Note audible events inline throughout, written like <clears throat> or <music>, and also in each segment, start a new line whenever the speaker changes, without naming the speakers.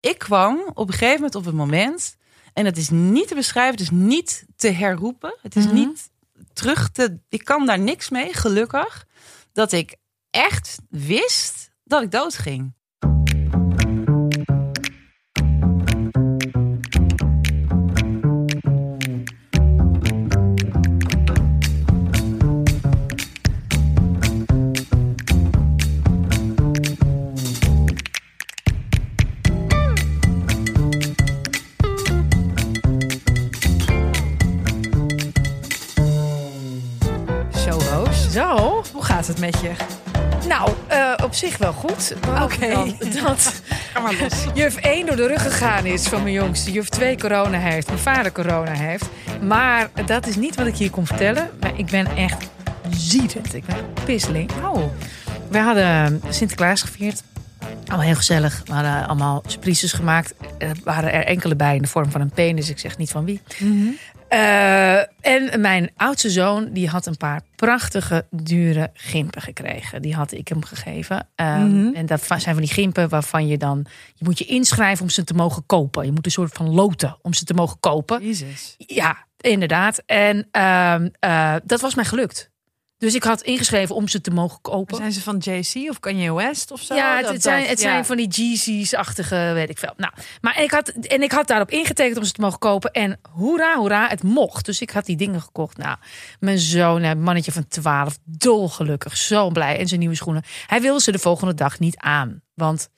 ik kwam op een gegeven moment op het moment, en dat is niet te beschrijven, het is niet te herroepen, het is
Mhm.
niet terug te. Ik kan daar niks mee, gelukkig, dat ik echt wist dat ik doodging.
Zo, Roos.
Zo,
Hoe gaat het met je?
nou, eh, op zich wel goed. Behalve
Oké.
dan Dat
Ga maar <laughs> los.
juf 1 door de rug gegaan is van mijn jongste. Juf 2 corona heeft, mijn vader corona heeft. Maar dat is niet wat ik hier kom vertellen. Maar ik ben echt ziedend. Ik ben pisseling. Au. We hadden eh, Sinterklaas gevierd. Al heel gezellig. We hadden allemaal surprises gemaakt. Er waren er enkele bij in de vorm van een penis. Ik zeg niet van wie.
Mhm.
Eh, en mijn oudste zoon die had een paar prachtige, dure gimpen gekregen. Die had ik hem gegeven. Ehm,
Mhm.
En dat va- zijn van die gimpen waarvan je dan... Je moet je inschrijven om ze te mogen kopen. Je moet een soort van loten om ze te mogen kopen.
Jezus.
Ja, inderdaad. En ehm, eh, dat was mij gelukt. Dus ik had ingeschreven om ze te mogen kopen.
Zijn ze van JC of Kanye West of zo?
Ja, het,
Dat-
het zijn,
dat-
het
ja.
zijn van die Jeezy's-achtige, weet ik veel. Nou, maar ik had, en ik had daarop ingetekend om ze te mogen kopen. En hoera, hoera, het mocht. Dus ik had die dingen gekocht. Nou, mijn zoon, een mannetje van 12, dolgelukkig, zo blij. En zijn nieuwe schoenen. Hij wilde ze de volgende dag niet aan. Want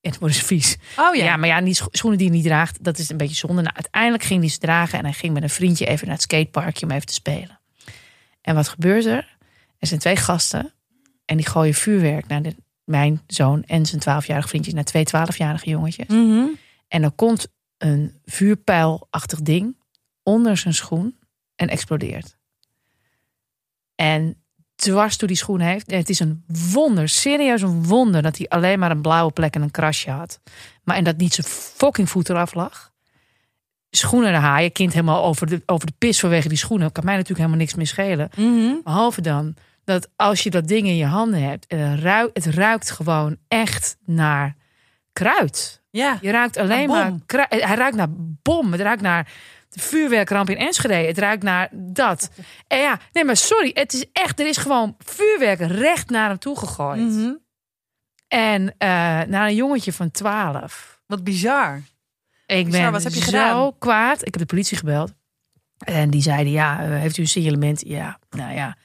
het wordt dus vies.
Oh ja.
Ja, maar ja, die scho- schoenen die hij niet draagt, dat is een beetje zonde. Nou, uiteindelijk ging hij ze dragen en hij ging met een vriendje even naar het skateparkje om even te spelen. En wat gebeurt er? Er zijn twee gasten en die gooien vuurwerk naar de, mijn zoon en zijn 12-jarig vriendje, naar twee 12-jarige jongetjes.
Mhm.
En er komt een vuurpijlachtig ding onder zijn schoen en explodeert. En dwars door die schoen heeft. Het is een wonder, serieus een wonder, dat hij alleen maar een blauwe plek en een krasje had. Maar en dat niet zijn fucking voet eraf lag. Schoenen naar haaien, kind helemaal over de, over de pis vanwege die schoenen. Kan mij natuurlijk helemaal niks meer schelen.
Mhm.
Behalve dan dat als je dat ding in je handen hebt, eh, ruik- het ruikt gewoon echt naar kruid.
Ja.
Je ruikt alleen
Naar
maar.
bom.
kru- Hij ruikt naar bom. Het ruikt naar de vuurwerkramp in Enschede. Het ruikt naar
<laughs>
dat. En ja, nee, maar sorry. Het is echt. Er is gewoon vuurwerk recht naar hem toe gegooid.
Mhm.
En eh, naar een jongetje van 12.
Wat bizar.
Ik
Bizar,
ben
wat heb je
zo
gedaan?
kwaad. Ik heb de politie gebeld. En die zeiden: Ja, eh, heeft u een signalement? Ja, nou ja.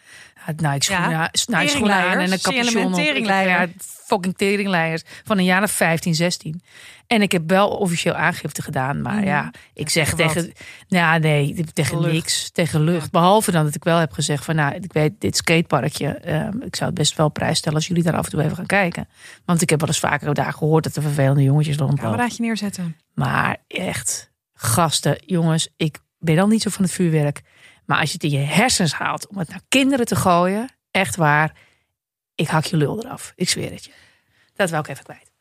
Nou, ik schoen,
Ja.
ja. nou, ik schoen aan en een
Teringleiers.
capuchon
Signalement
op. Ik- Ja,
teringleier.
fucking teringleiers van een jaar of 15, 16. En ik heb wel officieel aangifte gedaan, maar
Mhm.
ja, ik zeg
tegen
tegen, nou nee, tegen
Lucht.
niks, tegen lucht. Behalve dan dat ik wel heb gezegd van, nou, ik weet dit skateparkje, ehm, ik zou het best wel op prijs stellen als jullie daar af en toe even gaan kijken, want ik heb wel eens vaker daar gehoord dat er vervelende jongetjes rondlopen.
Cameraatje neerzetten.
Maar echt, gasten, jongens, ik ben al niet zo van het vuurwerk. Maar als je het in je hersens haalt om het naar kinderen te gooien, echt waar, ik hak je lul eraf. Ik zweer het je. Dat wou ik even kwijt.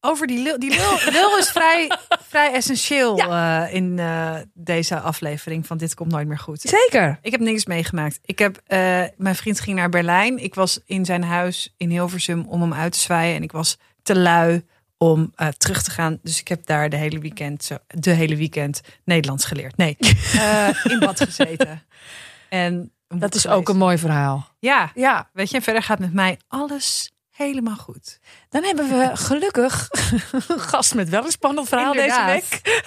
Over die lul. Die lul, lul is vrij, vrij essentieel eh, in eh, deze aflevering van Dit Komt Nooit Meer Goed.
Zeker.
Ik heb niks meegemaakt. Ik heb, eh, mijn vriend ging naar Berlijn. Ik was in zijn huis in Hilversum om hem uit te zwaaien. En ik was te lui om eh, terug te gaan. Dus ik heb daar de hele weekend, zo, de hele weekend Nederlands geleerd.
<laughs>
Nee, eh, in bad gezeten. En een
Dat
boek
is ook een
gelezen.
mooi verhaal.
Ja,
Ja,
weet je, en verder gaat met mij alles helemaal goed.
dan hebben we gelukkig <laughs> een gast met wel een spannend verhaal deze week.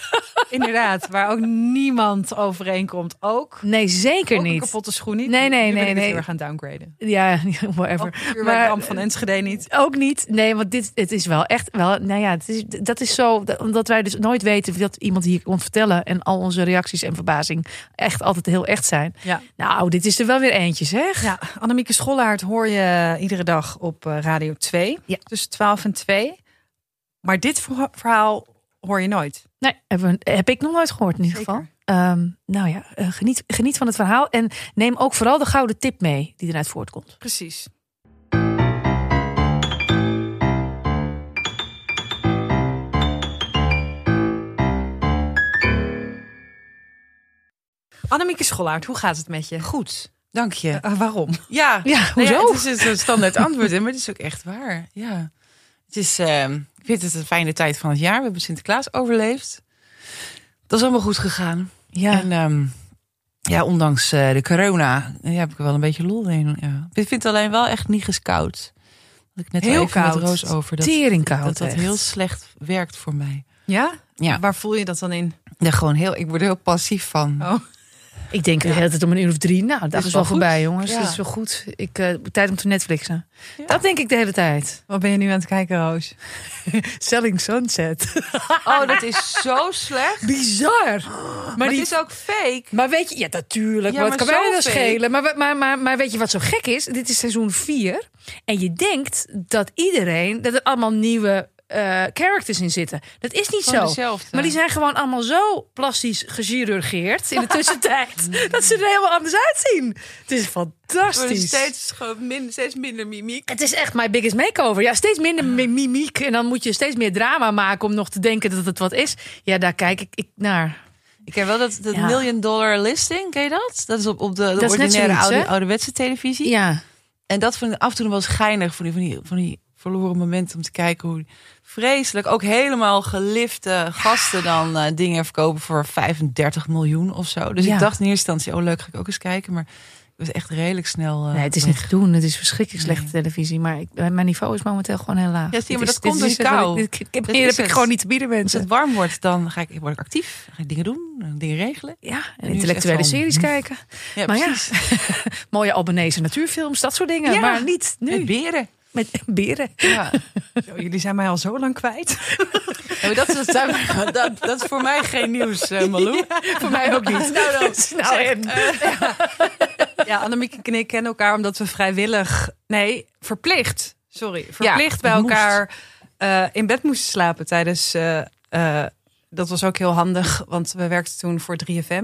Inderdaad, waar ook niemand overeenkomt. Ook,
Nee, zeker
ook een
niet.
kapotte schoen niet.
Nee, nee,
Nu ben
nee,
ik het
nee.
heel erg aan het downgraden.
Ja, <laughs> whatever.
Ook de
Maar-
vuurwerkramp van Enschede niet.
Ook niet. Nee, want dit het is wel echt wel. Nou ja, het is, dat is zo. dat- Omdat wij dus nooit weten dat iemand hier komt vertellen. En al onze reacties en verbazing echt altijd heel echt zijn.
Ja.
Nou, dit is er wel weer eentje, zeg.
Ja, Annemieke Schollaert hoor je iedere dag op eh, Radio 2.
Ja.
Tussen 12 en 2. Maar dit verha- verhaal hoor je nooit.
Nee, hebben we- heb ik nog nooit gehoord in ieder
Zeker.
geval. Ehm, nou ja, eh, geniet, geniet van het verhaal. En neem ook vooral de gouden tip mee die eruit voortkomt.
Precies. Annemieke Schollaert, hoe gaat het met je?
Goed, dank je.
Eh, waarom?
Ja,
Ja,
Nou
hoezo?
ja, het is een standaard antwoord, hè, maar het is ook echt waar. Ja. Het is, ehm, ik vind het een fijne tijd van het jaar. We hebben Sinterklaas overleefd. Dat is allemaal goed gegaan.
Ja.
En ehm, ja, ondanks eh, de corona ja, heb ik er wel een beetje lol in. Ja. Ik vind het alleen wel echt niet koud. Dat ik net al
Heel
even met
koud.
Roos over dat
Teringkoud.
dat, dat
echt.
heel slecht werkt voor mij.
Ja?
Ja.
Waar voel je dat dan in?
Ja, gewoon heel, ik word er heel passief van.
Oh.
Ik denk de hele tijd om een uur of drie. Nou, dat is, wel
is wel goed.
voorbij, jongens.
Ja.
Dat is wel goed. Ik, eh, tijd om te Netflixen.
Ja.
Dat denk ik de hele tijd.
Wat ben je nu aan het kijken, Roos?
Selling Sunset. <laughs>
Oh, dat is zo slecht.
Bizar. Maar,
Maar
die,
het is ook fake.
maar weet je, ja, natuurlijk.
Ja,
wat
maar
kan mij
zo
dat
fake.
schelen? Maar, we- maar, maar, maar weet je wat zo gek is? Dit is seizoen 4. En je denkt dat iedereen, dat er allemaal nieuwe eh, characters in zitten. Dat is niet
Gewoon
zo.
dezelfde.
Maar die zijn gewoon allemaal zo plastisch gechirurgeerd in de tussentijd. dat ze er helemaal anders uitzien. Het is
Er wordt
fantastisch.
steeds, gewoon min- steeds minder mimiek.
Het is echt my biggest makeover. Ja, steeds minder mi- mimiek. En dan moet je steeds meer drama maken om nog te denken dat het wat is. Ja, daar kijk ik, ik naar.
Ik heb wel dat, dat
Ja.
million dollar listing, ken je dat? Dat is op, op de, de
is net
ordinaire
zoiets,
oude,
hè?
ouderwetse televisie.
Ja.
En dat vond ik af en toe nog wel eens geinig. Van die, van, die, van die verloren momenten om te kijken hoe vreselijk ook helemaal gelifte gasten dan eh, dingen verkopen voor 35 miljoen of zo. Dus
Ja.
ik dacht in eerste instantie, oh leuk, ga ik ook eens kijken. Maar ik was echt redelijk snel. eh,
Nee, het is
weg.
niet te doen. Het is verschrikkelijk
Nee.
slechte televisie. Maar ik, mijn niveau is momenteel gewoon heel laag.
Ja, zie je,
Dit
maar
is-
dat
dit
komt
is
door
wat
kou.
Ik, ik heb,
Dat
hier
is
heb ik
het.
gewoon niet te bieden,
Als
mensen.
het warm wordt, dan ga ik, word ik actief. Ga ik dingen doen, dingen regelen.
Ja, en
echt
intellectuele
van-
series kijken.
Ja,
maar
precies.
ja, mooie Albanese natuurfilms, dat soort dingen.
Ja.
Maar niet
Met
nu.
beren.
Met beren.
Ja.
Zo, jullie zijn mij al zo lang
<laughs>
kwijt.
Ja, maar dat, is, dat, <laughs> dat, dat is voor mij geen nieuws, eh, Malou.
Voor mij
<laughs>
ook niet. Nou, en.
eh,
Ja, Annemiek en ik kennen elkaar omdat we vrijwillig... Nee, verplicht. Sorry. Verplicht bij
moest.
elkaar eh, in bed moesten slapen tijdens... eh, eh, dat was ook heel handig, want we werkten toen voor 3FM.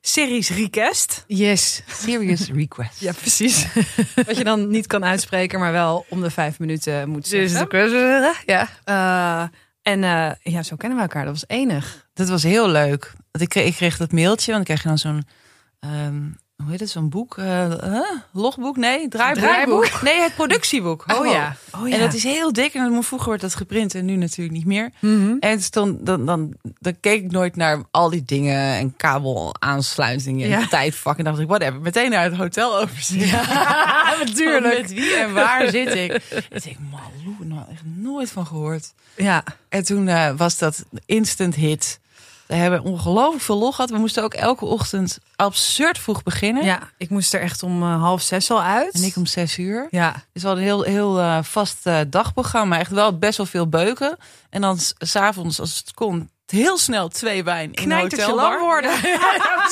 Series Request.
Yes.
Serious request.
Ja, precies. <laughs> Wat je dan niet kan uitspreken, maar wel om de vijf minuten moet
Dus
zeggen.
ja.
Eh, en eh, ja, zo kennen we elkaar. Dat was enig.
Dat was heel leuk. Want ik kreeg, ik kreeg dat mailtje, want dan krijg je dan zo'n... ehm, hoe heet het? Zo'n boek? eh, huh? Logboek? Nee, draaiboek.
Draaiboek?
Nee, het productieboek. Hallo.
Oh,
En dat is heel dik. En dan- vroeger werd dat geprint en nu natuurlijk niet meer.
Mhm.
En dus dan, dan, dan, dan keek ik nooit naar al die dingen en kabelaansluitingen en
Ja.
tijdvak. En dacht ik, whatever, meteen naar het hotel overzien. <laughs> <laughs> natuurlijk. Met wie en waar zit <laughs> ik? Ik denk, Malou, nou echt nooit van gehoord.
ja.
En toen eh, was dat instant hit. We hebben ongelooflijk veel log gehad. We moesten ook elke ochtend absurd vroeg beginnen.
ja, ik moest er echt om eh, half zes al uit.
En ik om zes uur.
Ja,
Dus we hadden een heel, heel eh, vast eh, dagprogramma. Echt wel best wel veel beuken. En dan s- s'avonds, als het kon, heel snel twee wijn in een
knijtertje
hotelbar.
lang worden.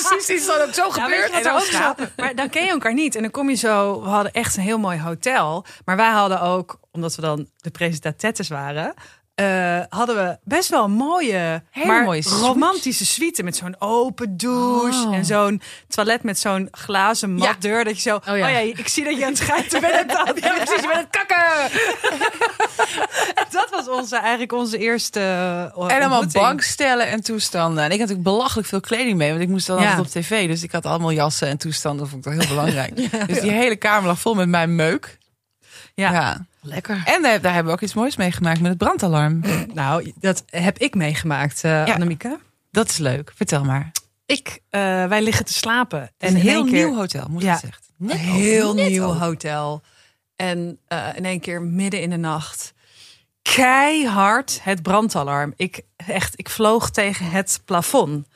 precies. Is dat ook zo
weet je wat er ook zo- Maar dan ken je elkaar niet. En dan kom je zo... We hadden echt een heel mooi hotel. Maar wij hadden ook, omdat we dan de presentatettes waren... eh, hadden we best wel mooie,
Hele
maar
mooie suites.
romantische suite met zo'n open douche
Oh.
en zo'n toilet met zo'n glazen matdeur. Dat je zo, oh
ja.
ja. ik zie dat je aan het schijten bent.
Ja, precies. Je bent het kakken.
<laughs> Dat was onze, eigenlijk onze eerste eh,
En allemaal
ontmoeting.
bankstellen en toestanden. En ik had natuurlijk belachelijk veel kleding mee, want ik moest dan
Ja.
altijd op tv. Dus ik had allemaal jassen en toestanden, dat vond ik dan heel
<laughs>
belangrijk. Dus die hele kamer lag vol met mijn meuk.
Ja.
ja.
Lekker.
En daar, daar hebben we ook iets moois meegemaakt met het brandalarm.
Nou, dat heb ik meegemaakt, eh Annemieke.
Dat is leuk. Vertel maar.
Ik, eh, wij liggen te slapen.
En een
in
heel
één keer-
nieuw hotel, moet
Ja.
ik zeggen. Net
Een heel
net
nieuw
open.
hotel. En eh, in één keer midden in de nacht. Keihard het brandalarm. Ik, echt, ik vloog tegen het plafond.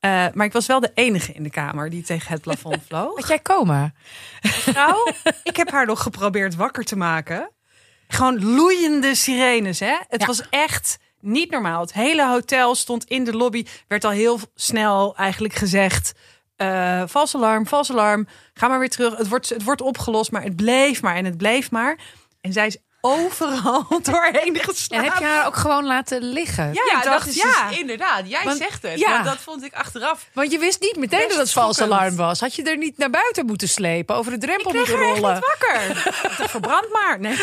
Eh, maar ik was wel de enige in de kamer die tegen het plafond <laughs> vloog.
Had jij coma?
Vrouw, ik heb haar nog geprobeerd wakker te maken. Gewoon loeiende sirenes, hè? Het
Ja.
was echt niet normaal. Het hele hotel stond in de lobby. Werd al heel snel eigenlijk gezegd... eh vals alarm, vals alarm. Ga maar weer terug. Het wordt, het wordt opgelost, maar het bleef maar en het bleef maar. En zij is overal <laughs> doorheen
En
geslagen.
heb je haar ook gewoon laten liggen?
Ja, ik dacht, ja.
inderdaad. Jij
Want-
zegt
ja.
het. dus want dat vond ik achteraf.
Want je wist niet meteen
Best
dat het vals
schokkend.
alarm was. Had je er niet naar buiten moeten slepen, over de drempel
Ik
moeten
kreeg haar echt
rollen.
niet wakker.
<laughs>
Ik dacht, Verbrand maar. Nee.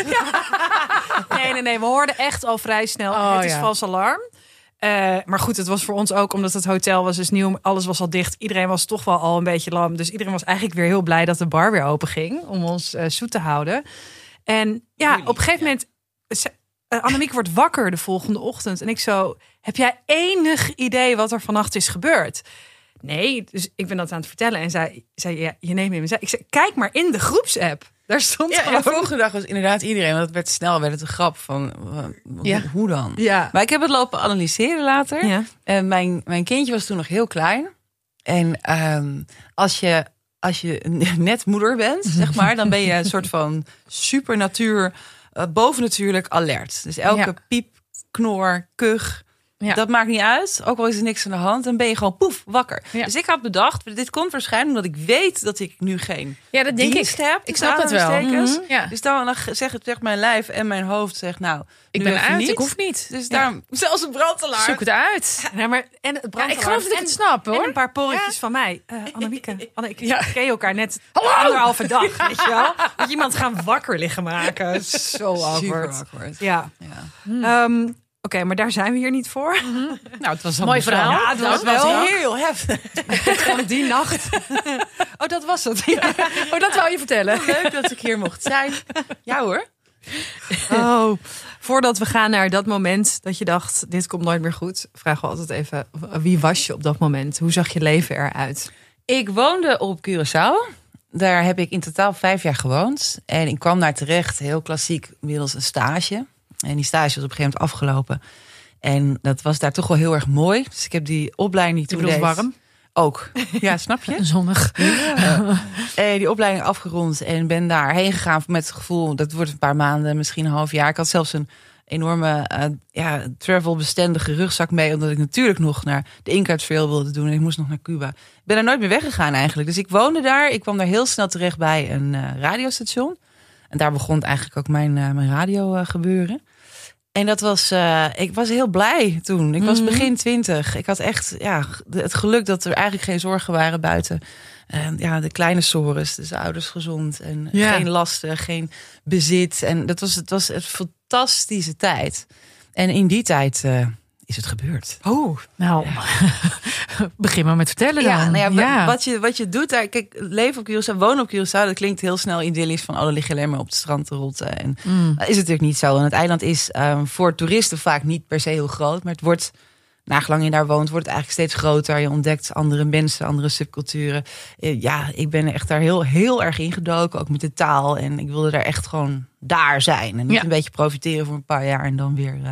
nee, nee, nee. We hoorden echt al vrij snel.
Oh,
het is
ja.
vals alarm. Eh, maar goed, het was voor ons ook omdat het hotel was dus nieuw. Alles was al dicht. Iedereen was toch wel al een beetje lam. Dus iedereen was eigenlijk weer heel blij dat de bar weer open ging. Om ons eh, zoet te houden. En ja,
Jullie,
op een gegeven moment... ze- eh, Annemiek wordt wakker de volgende ochtend. En ik zo, heb jij enig idee wat er vannacht is gebeurd? Nee, dus ik ben dat aan het vertellen. En zij zei, ja, je neemt me in mijn zij. Ik zei, kijk maar in de groepsapp. Daar stond
Ja, en de
gewoon...
volgende dag was inderdaad iedereen, want het werd snel werd het een grap van eh, hoe-
Ja.
hoe dan?
Ja.
Maar ik heb het lopen analyseren later.
ja.
En Eh, mijn, mijn kindje was toen nog heel klein. En ehm, als, je, als je <laughs> net moeder bent,
<laughs>
zeg maar, dan ben je een soort van supernatuur, eh, bovennatuurlijk alert. Dus elke
Ja.
piep, knor, kuch.
Ja.
Dat maakt niet uit, ook al is er niks aan de hand, dan ben je gewoon poef wakker.
Ja.
Dus ik had bedacht, dit komt waarschijnlijk omdat ik weet dat ik nu geen
Ja, dat denk
dienst
ik.
heb.
Ik
tussen
snap dat wel.
aanhalingstekens.
Mhm. Ja.
Dus dan, dan zeg het zegt mijn lijf en mijn hoofd zegt, nou,
Ik
nu
ben
even
uit,
niet.
ik hoef niet.
Dus
Ja.
daarom, <laughs> zelfs een brandalarm.
Zoek het uit.
Ja, maar, en het
Ja,
brandalarm.
ik geloof dat ik
En-
het snap
En
hoor.
een paar porretjes van mij. Eh Annemieke, Anne, ik
Ja.
ken je elkaar net anderhalve dag, weet je wel? Dat je iemand gaan wakker liggen maken. Zo
Super
awkward.
awkward.
Ja.
Ja.
Ehm, Oké, maar daar zijn we hier niet voor.
Nou, het was
Mooi verhaal.
Ja, het was
Dat was
wel
wel.
heel heftig.
<laughs> Gewoon die nacht. Oh, dat was het.
Oh, dat wou je vertellen.
Leuk dat ik hier mocht <laughs> zijn. Ja hoor.
Oh, voordat we gaan naar dat moment dat je dacht, dit komt nooit meer goed, vragen we altijd even, wie was je op dat moment? Hoe zag je leven eruit?
Ik woonde op Curaçao. Daar heb ik in totaal vijf jaar gewoond. En ik kwam daar terecht, heel klassiek, middels een stage. En die stage was op een gegeven moment afgelopen. En dat was daar toch wel heel erg mooi. Dus ik heb die opleiding die
Je
toen
bedoelt
deed-
warm?
<laughs> Ook. Ja, snap je?
Zonnig.
<laughs> Eh, die opleiding afgerond en ben daarheen gegaan met het gevoel dat wordt een paar maanden, misschien een half jaar. Ik had zelfs een enorme eh, ja, travel-bestendige rugzak mee, omdat ik natuurlijk nog naar de Inca Trail wilde doen en ik moest nog naar Cuba. Ik ben er nooit meer weggegaan eigenlijk. Dus ik woonde daar. Ik kwam daar heel snel terecht bij een eh, radiostation. En daar begon eigenlijk ook mijn, eh, mijn radio eh, gebeuren. En dat was, eh, ik was heel blij toen. Ik was
Mhm.
begin twintig. Ik had echt ja, g- de- het geluk dat er eigenlijk geen zorgen waren buiten. eh, ja, de kleine sores, dus de ouders gezond en
Ja.
geen lasten, geen bezit. En dat was, het was een fantastische tijd. En in die tijd eh, is het gebeurd.
Oh,
Nou, <laughs> begin maar met vertellen dan.
Ja, nou ja, wa- Wat, je, wat je doet daar, kijk, leven op Curaçao, wonen op Curaçao, dat klinkt heel snel idyllisch van, alle lig je alleen maar op het strand te rotten. En
Mm.
dat is natuurlijk niet zo. En het eiland is ehm, voor toeristen vaak niet per se heel groot, maar het wordt, nagelang je daar woont, wordt het eigenlijk steeds groter. Je ontdekt andere mensen, andere subculturen. Eh, ja, ik ben echt daar heel, heel erg ingedoken, ook met de taal. En ik wilde daar echt gewoon daar zijn. En niet
Ja.
een beetje profiteren voor een paar jaar en dan weer eh,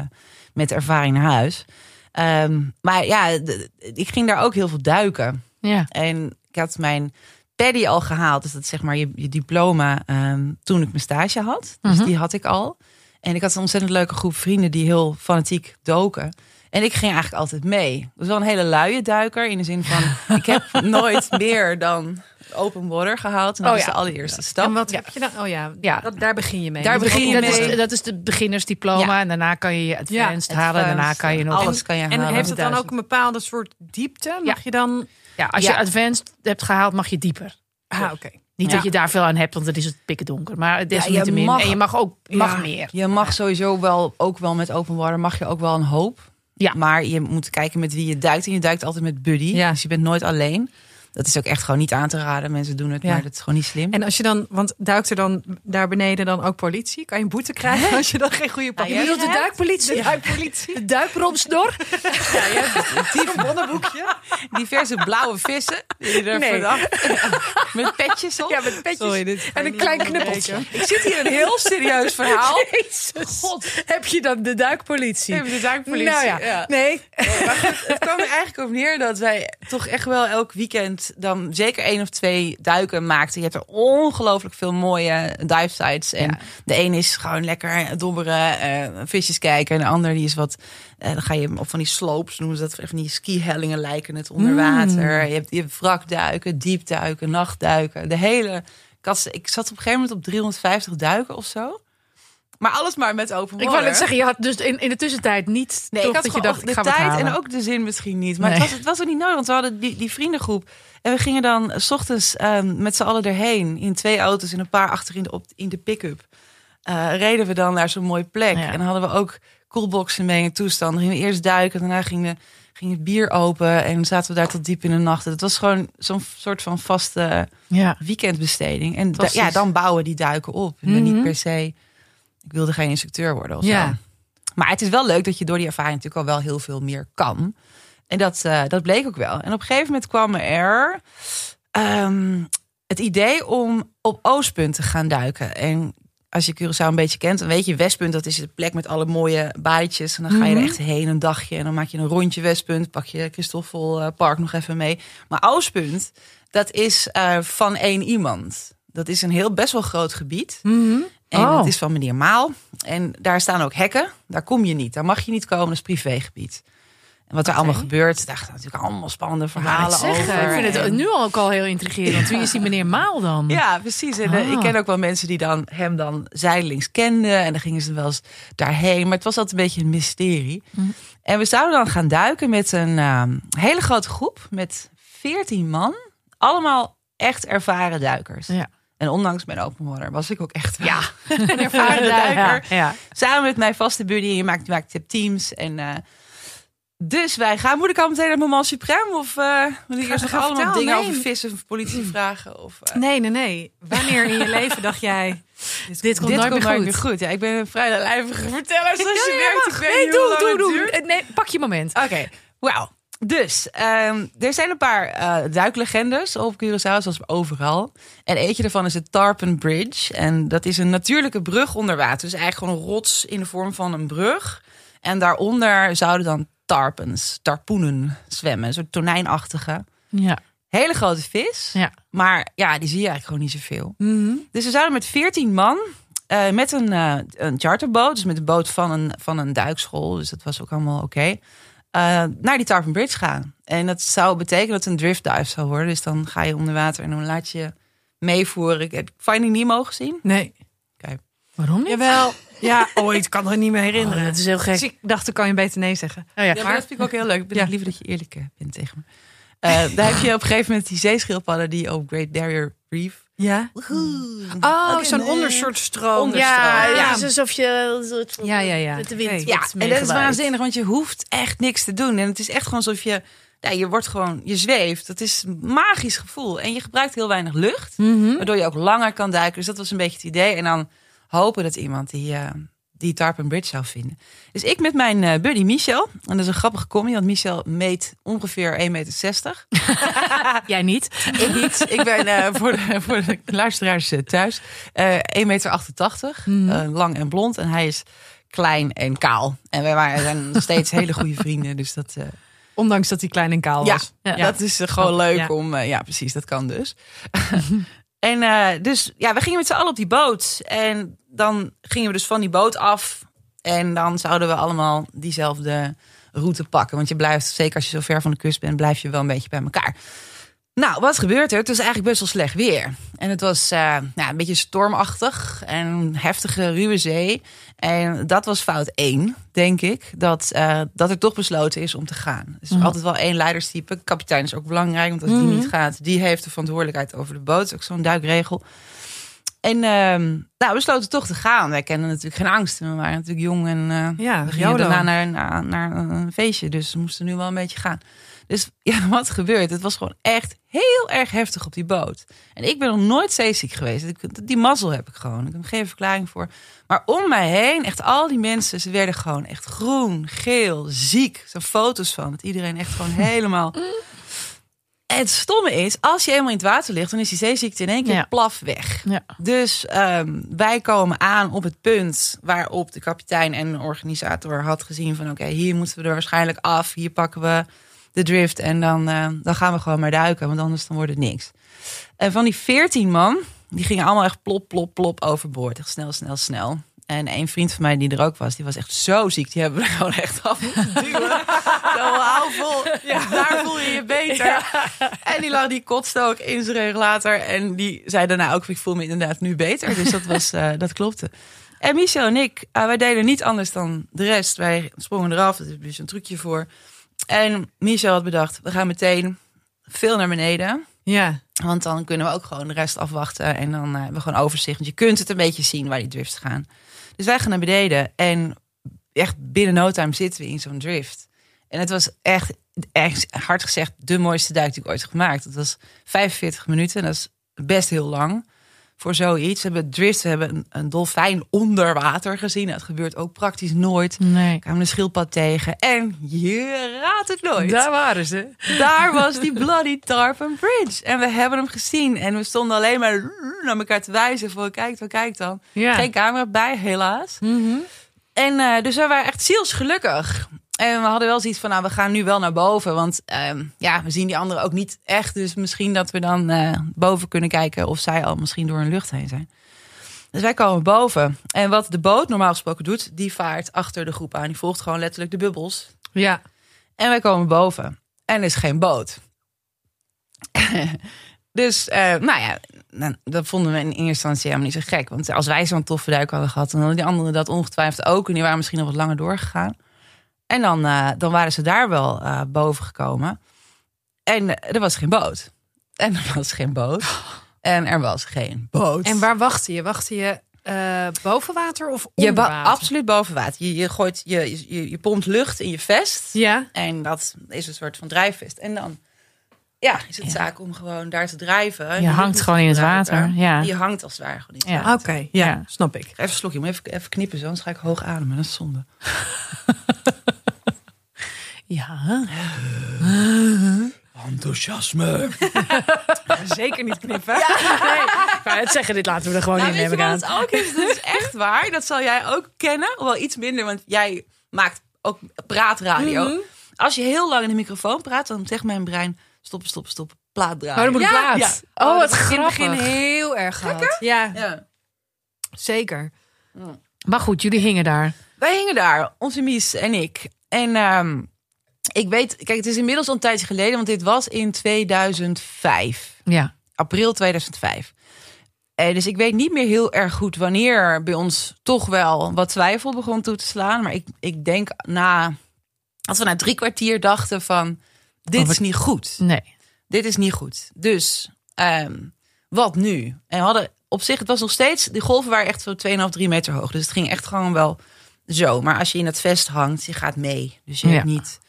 met ervaring naar huis. Ehm, maar ja, d- ik ging daar ook heel veel duiken.
Ja.
En ik had mijn paddy al gehaald. Dus dat is zeg maar je, je diploma ehm, toen ik mijn stage had. Dus
Mhm.
die had ik al. En ik had een ontzettend leuke groep vrienden die heel fanatiek doken. En ik ging eigenlijk altijd mee. Ik was wel een hele luie duiker. In de
<laughs>
zin van, ik heb nooit meer dan open water gehaald. En dat
Oh
is
ja.
de allereerste stap.
en wat
Ja.
heb je dan? Oh ja,
Ja.
Dat, daar begin je mee.
Daar
Je
begin je
begint
dat,
mee.
ook
is, dat is de beginnersdiploma.
Ja.
En daarna kan je je advanced halen. En daarna kan je nog...
Alles kan je
eh, En
halen.
heeft het dan
duizend.
ook een bepaalde soort diepte? Mag
Ja.
je dan...
Ja, als
Ja.
je advanced hebt gehaald, mag je dieper.
Ah, oké.
Niet
Ja.
dat je daar veel aan hebt, want dan is het pikken donker. Maar desalniettemin.
mag-
en je mag ook mag
Ja.
meer.
Je mag sowieso wel, ook wel met open water, mag je ook wel een hoop.
Ja.
Maar je moet kijken met wie je duikt. En je duikt altijd met buddy.
Ja.
Dus je bent nooit alleen. Dat is ook echt gewoon niet aan te raden. Mensen doen het,
Ja.
maar dat is gewoon niet slim.
En als je dan, want duikt er dan daar beneden dan ook politie? Kan je een boete krijgen als je dan geen goede
Ja,
papieren
je
hebt?
bedoelt de
duikpolitie?
De duikpolitie.
De duikromsnor?
<laughs>
Bonnenboekje.
diverse blauwe vissen. Die je er
Nee.
vanaf- met petjes op.
Ja, met petjes.
Sorry, dit
en een klein knuppeltje.
Ik zit hier een heel serieus verhaal.
Jezus. Heb je dan de duikpolitie?
Even de duikpolitie.
Nou ja.
Ja.
Nee.
het kwam er eigenlijk op neer dat wij toch echt wel elk weekend dan zeker één of twee duiken maakten. Je hebt er ongelooflijk veel mooie dive sites. En
Ja.
de een is gewoon lekker dobberen, eh, visjes kijken. En de ander die is wat, eh, dan ga je op van die slopes noemen ze dat. Van die skihellingen lijken het
Mm.
onder water. Je, hebt, je hebt wrakduiken, diepduiken, nachtduiken. De hele, kast. ik zat op een gegeven moment op 350 duiken of zo. Maar alles maar met open water.
Ik wou net zeggen, je had dus in, in de tussentijd niet
Nee,
toch
ik
dat
had
je
gewoon
dacht,
ook
ik
de
ga wat
tijd
halen.
en ook de zin misschien niet. Maar het,
Nee.
was, het was ook niet nodig, want we hadden die, die vriendengroep. En we gingen dan eh, s ochtends ehm, met z'n allen erheen. In twee auto's en een paar achter in de, op, in de pick-up. Eh, reden we dan naar zo'n mooie plek.
Ja.
En dan hadden we ook koelboxen mee en toestanden. Gingen we eerst duiken, daarna ging, de, ging het bier open. En zaten we daar tot diep in de nacht. Het was gewoon zo'n soort van vaste
Ja.
weekendbesteding. En da-
Fantastisch.
ja, dan bouwen die duiken op. En
Mhm.
Niet per se, ik wilde geen instructeur worden of
Ja.
zo. Maar het is wel leuk dat je door die ervaring natuurlijk al wel heel veel meer kan. En dat, eh, dat bleek ook wel. En op een gegeven moment kwam er ehm, het idee om op Oostpunt te gaan duiken. En als je Curaçao een beetje kent, dan weet je Westpunt, dat is de plek met alle mooie baadjes. En dan ga je
Mhm.
er echt heen een dagje en dan maak je een rondje Westpunt. Pak je Christoffel eh, Park nog even mee. Maar Oostpunt, dat is eh, van één iemand. Dat is een heel best wel groot gebied. En
Oh.
dat is van meneer Maal. En daar staan ook hekken. Daar kom je niet. Daar mag je niet komen. Dat is privégebied. En wat er allemaal gebeurt, daar gaan natuurlijk allemaal spannende verhalen over.
zeggen. Ik vind het
En-
nu ook al heel intrigerend. Wie is die meneer Maal dan?
ja,
Mm.
precies. En eh,
Ah.
ik ken ook wel mensen die dan hem dan zijdelings kenden. En dan gingen ze wel eens daarheen. Maar het was altijd een beetje een mysterie.
Mm.
En we zouden dan gaan duiken met een eh, hele grote groep. Met veertien man. Allemaal echt ervaren duikers.
Ja.
En ondanks mijn open water was ik ook echt wel
Ja.
een
<laughs>
ervaren duiker.
ja.
Samen met mijn vaste buddy. Je maakt, je maakt teams. En, eh, dus wij gaan. Moet ik al meteen naar Moment Supreme? Of eh moet ik eerst nog
ga
allemaal
vertellen,
dingen
nee.
over vissen
<clears throat>
of politie vragen? Of, eh,
Nee, nee, nee. Wanneer in je leven dacht jij...
Dit komt nooit meer goed.
goed. Ja, ik ben een vrij lijvige verteller. Zoals je merkt, ik weet
nee,
niet hoe
doe,
lang Ah.
doe,
het
doe.
duurt.
Eh, Nee, pak je moment.
Oké, wauw. Dus, ehm, er zijn een paar eh duiklegendes op Curaçao, zoals overal. En eentje daarvan is de Tarpon Bridge. En dat is een natuurlijke brug onder water. Dus eigenlijk gewoon een rots in de vorm van een brug. En daaronder zouden dan tarpens, tarpoenen zwemmen. Een soort tonijnachtige.
Ja.
Hele grote vis.
ja.
Maar ja, die zie je eigenlijk gewoon niet zoveel. Dus we zouden met 14 man eh, met een, eh, een charterboot, dus met de boot van een, van een duikschool, dus dat was ook allemaal oké, eh, naar die Tarpon Bridge gaan. En dat zou betekenen dat het een driftdive zou worden. Dus dan ga je onder water en dan laat je je meevoeren. Ik heb Finding Nemo gezien.
Nee.
Waarom niet?
Jawel. Ja, ooit. kan het niet meer
Oh,
herinneren.
dat is heel gek.
dus ik dacht, dan kan je beter nee zeggen.
Oh, ja.
Ja, maar
maar-
dat vind ik ook heel leuk. Ik ben
Ja.
ook liever dat je eerlijk eh, bent tegen me. Eh, daar heb je op een gegeven moment die zeeschildpadden die op Great Barrier Reef.
Ja? Oh, zo'n ondersoort stroom.
Ja,
Ja.
het is alsof je een soort van
Ja, ja, ja.
met de wind
Nee.
wordt
Ja, en dat is
meegewaaid.
waanzinnig, want je hoeft echt niks te doen. En het is echt gewoon alsof je, ja, je wordt gewoon, je zweeft. Dat is een magisch gevoel. En je gebruikt heel weinig lucht,
Mhm.
waardoor je ook langer kan duiken. Dus dat was een beetje het idee. En dan hopen dat iemand die, eh, die Tarpon Bridge zou vinden. Dus ik met mijn eh, buddy Michel, en dat is een grappige comedy, want Michel meet ongeveer 1,60 meter.
Jij niet?
Ik niet. Ik ben eh, voor, de, <laughs> voor de luisteraars eh, thuis eh 1,88 meter,
Mm.
eh, lang en blond. En hij is klein en kaal. En wij waren,
<laughs>
zijn nog steeds hele goede vrienden. Dus dat, eh,
Ondanks dat hij klein en kaal
ja,
was.
Ja.
dat is eh, gewoon leuk
Ja.
om... eh, ja, precies, dat kan
<laughs>
dus. en eh, dus, ja, we gingen met z'n allen op die boot. En dan gingen we dus van die boot af. En dan zouden we allemaal diezelfde route pakken. Want je blijft, zeker als je zo ver van de kust bent... blijf je wel een beetje bij elkaar. Nou, wat gebeurt er? Het is eigenlijk best wel slecht weer. En het was eh, nou, een beetje stormachtig en heftige, ruwe zee. En dat was fout één, denk ik. Dat, eh, dat er toch besloten is om te gaan. Dus er is altijd wel één leiderstype. Kapitein is ook belangrijk, want als die niet gaat... die heeft de verantwoordelijkheid over de boot. Dat is ook zo'n duikregel. En ehm, nou, we besloten toch te gaan. Wij kenden natuurlijk geen angst. We waren natuurlijk jong en eh,
Ja,
we gingen
YOLO.
daarna naar, naar, naar een feestje. Dus we moesten nu wel een beetje gaan. Dus <laughs> ja, wat gebeurt? Het was gewoon echt heel erg heftig op die boot. En ik ben nog nooit zeeziek geweest. Ik- Die mazzel heb ik gewoon. Ik heb er geen verklaring voor. Maar om mij heen, echt al die mensen, ze werden gewoon echt groen, geel, ziek. Er zijn foto's van. Dat iedereen echt
<laughs>
gewoon helemaal... En het stomme is, als je helemaal in het water ligt, dan is die zeeziekte in één keer
Ja.
plaf weg.
Ja.
Dus ehm, wij komen aan op het punt waarop de kapitein en de organisator had gezien van oké, hier moeten we er waarschijnlijk af. Hier pakken we de drift en dan, eh, dan gaan we gewoon maar duiken, want anders dan wordt het niks. En Eh, van die veertien man, die gingen allemaal echt plop, plop, plop overboord. Echt snel, snel, snel. En één vriend van mij die er ook was, die was echt zo ziek. Die hebben we er gewoon echt af moeten duwen. Zo, hou vol. Daar voel je je beter. En die lag die kotste ook in zijn regulator. En die zei daarna ook, ik voel me inderdaad nu beter. Dus dat, was, eh, dat klopte. En Michel en ik, eh, wij deden niet anders dan de rest. Wij sprongen eraf, er is dus een trucje voor. En Michel had bedacht, we gaan meteen veel naar beneden.
Ja.
Want dan kunnen we ook gewoon de rest afwachten. En dan eh, hebben we gewoon overzicht. Want je kunt het een beetje zien waar die drifts gaan. Dus wij gaan naar beneden. En echt binnen no time zitten we in zo'n drift. En het was echt, echt hard gezegd de mooiste duik die ik ooit heb gemaakt. Het was 45 minuten. En dat is best heel lang. voor zoiets. We hebben drift, we hebben een, een dolfijn onder water gezien. Dat gebeurt ook praktisch nooit.
Nee.
kwamen een schildpad tegen en je raadt het nooit.
Daar waren ze.
Daar was die bloody tarpon bridge. En we hebben hem gezien. En we stonden alleen maar naar elkaar te wijzen. Voor kijk dan, kijk dan.
Ja.
Geen camera bij, helaas.
Mhm.
En eh, dus we waren echt zielsgelukkig. En we hadden wel zoiets van, nou, we gaan nu wel naar boven. Want ehm, ja, we zien die anderen ook niet echt. Dus misschien dat we dan eh, boven kunnen kijken of zij al misschien door hun lucht heen zijn. Dus wij komen boven. En wat de boot normaal gesproken doet, die vaart achter de groep aan. Die volgt gewoon letterlijk de bubbels.
Ja.
En wij komen boven. En er is geen boot. <laughs> dus, eh, nou ja, nou, dat vonden we in eerste instantie helemaal niet zo gek. Want als wij zo'n toffe duik hadden gehad, dan hadden die anderen dat ongetwijfeld ook. En die waren misschien nog wat langer doorgegaan. En dan, eh, dan waren ze daar wel eh, boven gekomen. En eh, er was geen boot. En er was geen boot. En er was geen boot.
En waar wachtte je? Wachtte je eh, boven water of
je
onder
ba-
water?
absoluut boven water. Je, je gooit, je, je, je pompt lucht in je vest.
Ja.
En dat is een soort van drijfvest. En dan ja, is het zaak om gewoon daar te drijven. En
Je
doet
hangt
niet
gewoon in het water,
gebruiken.
ja.
Je hangt als het ware gewoon in het
Ja.
water.
Oké, ja,
Ja.
snap ik.
Even een slokje, maar even, even knippen zo, anders ga ik hoog ademen. Dat is zonde.
Ja. <laughs>
Enthousiasme.
Oh,
Zeker niet knippen. <laughs>
Maar het zeggen, dit laten we er gewoon
Nou,
in
weet je
hebben
wat
gaan.
het ook is? Dat is echt waar. Dat zal jij ook kennen. Wel iets minder, want jij maakt ook praatradio.
Mhm.
Als je heel lang in de microfoon praat, dan zegt mijn brein... Stoppen, stoppen, stoppen. Plaat draaien.
Oh, dan moet ik
Ja,
plaat.
ja.
Oh,
dat
wat
heb ik in
grappig.
het begin heel erg gehad. Ja,
Ja.
zeker.
Maar goed, jullie hingen daar.
Wij hingen daar, onze Mies en ik. En ehm, ik weet, kijk, het is inmiddels al een tijdje geleden, want dit was in 2005,
Ja.
april 2005. Eh, dus ik weet niet meer heel erg goed wanneer bij ons toch wel wat twijfel begon toe te slaan. Maar ik, ik denk na, als we na drie kwartier dachten van, dit
Of
is
ik-
niet goed
Nee.
dit is niet goed. Dus ehm, wat nu? En we hadden op zich, het was nog steeds, die golven waren echt zo 2,5, 3 meter hoog. Dus het ging echt gewoon wel zo. Maar als je in het vest hangt, je gaat mee. Dus je hebt
Ja.
niet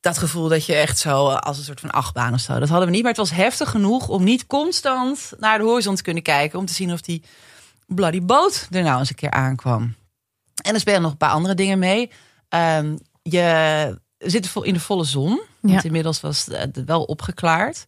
dat gevoel dat je echt zo eh, als een soort van achtbaan of zo. Dat hadden we niet. Maar het was heftig genoeg om niet constant naar de horizon te kunnen kijken. Om te zien of die bloody boot er nou eens een keer aankwam. En er spelen nog een paar andere dingen mee. Ehm, je zit vo- in de volle zon. Want
Ja.
inmiddels was het wel opgeklaard.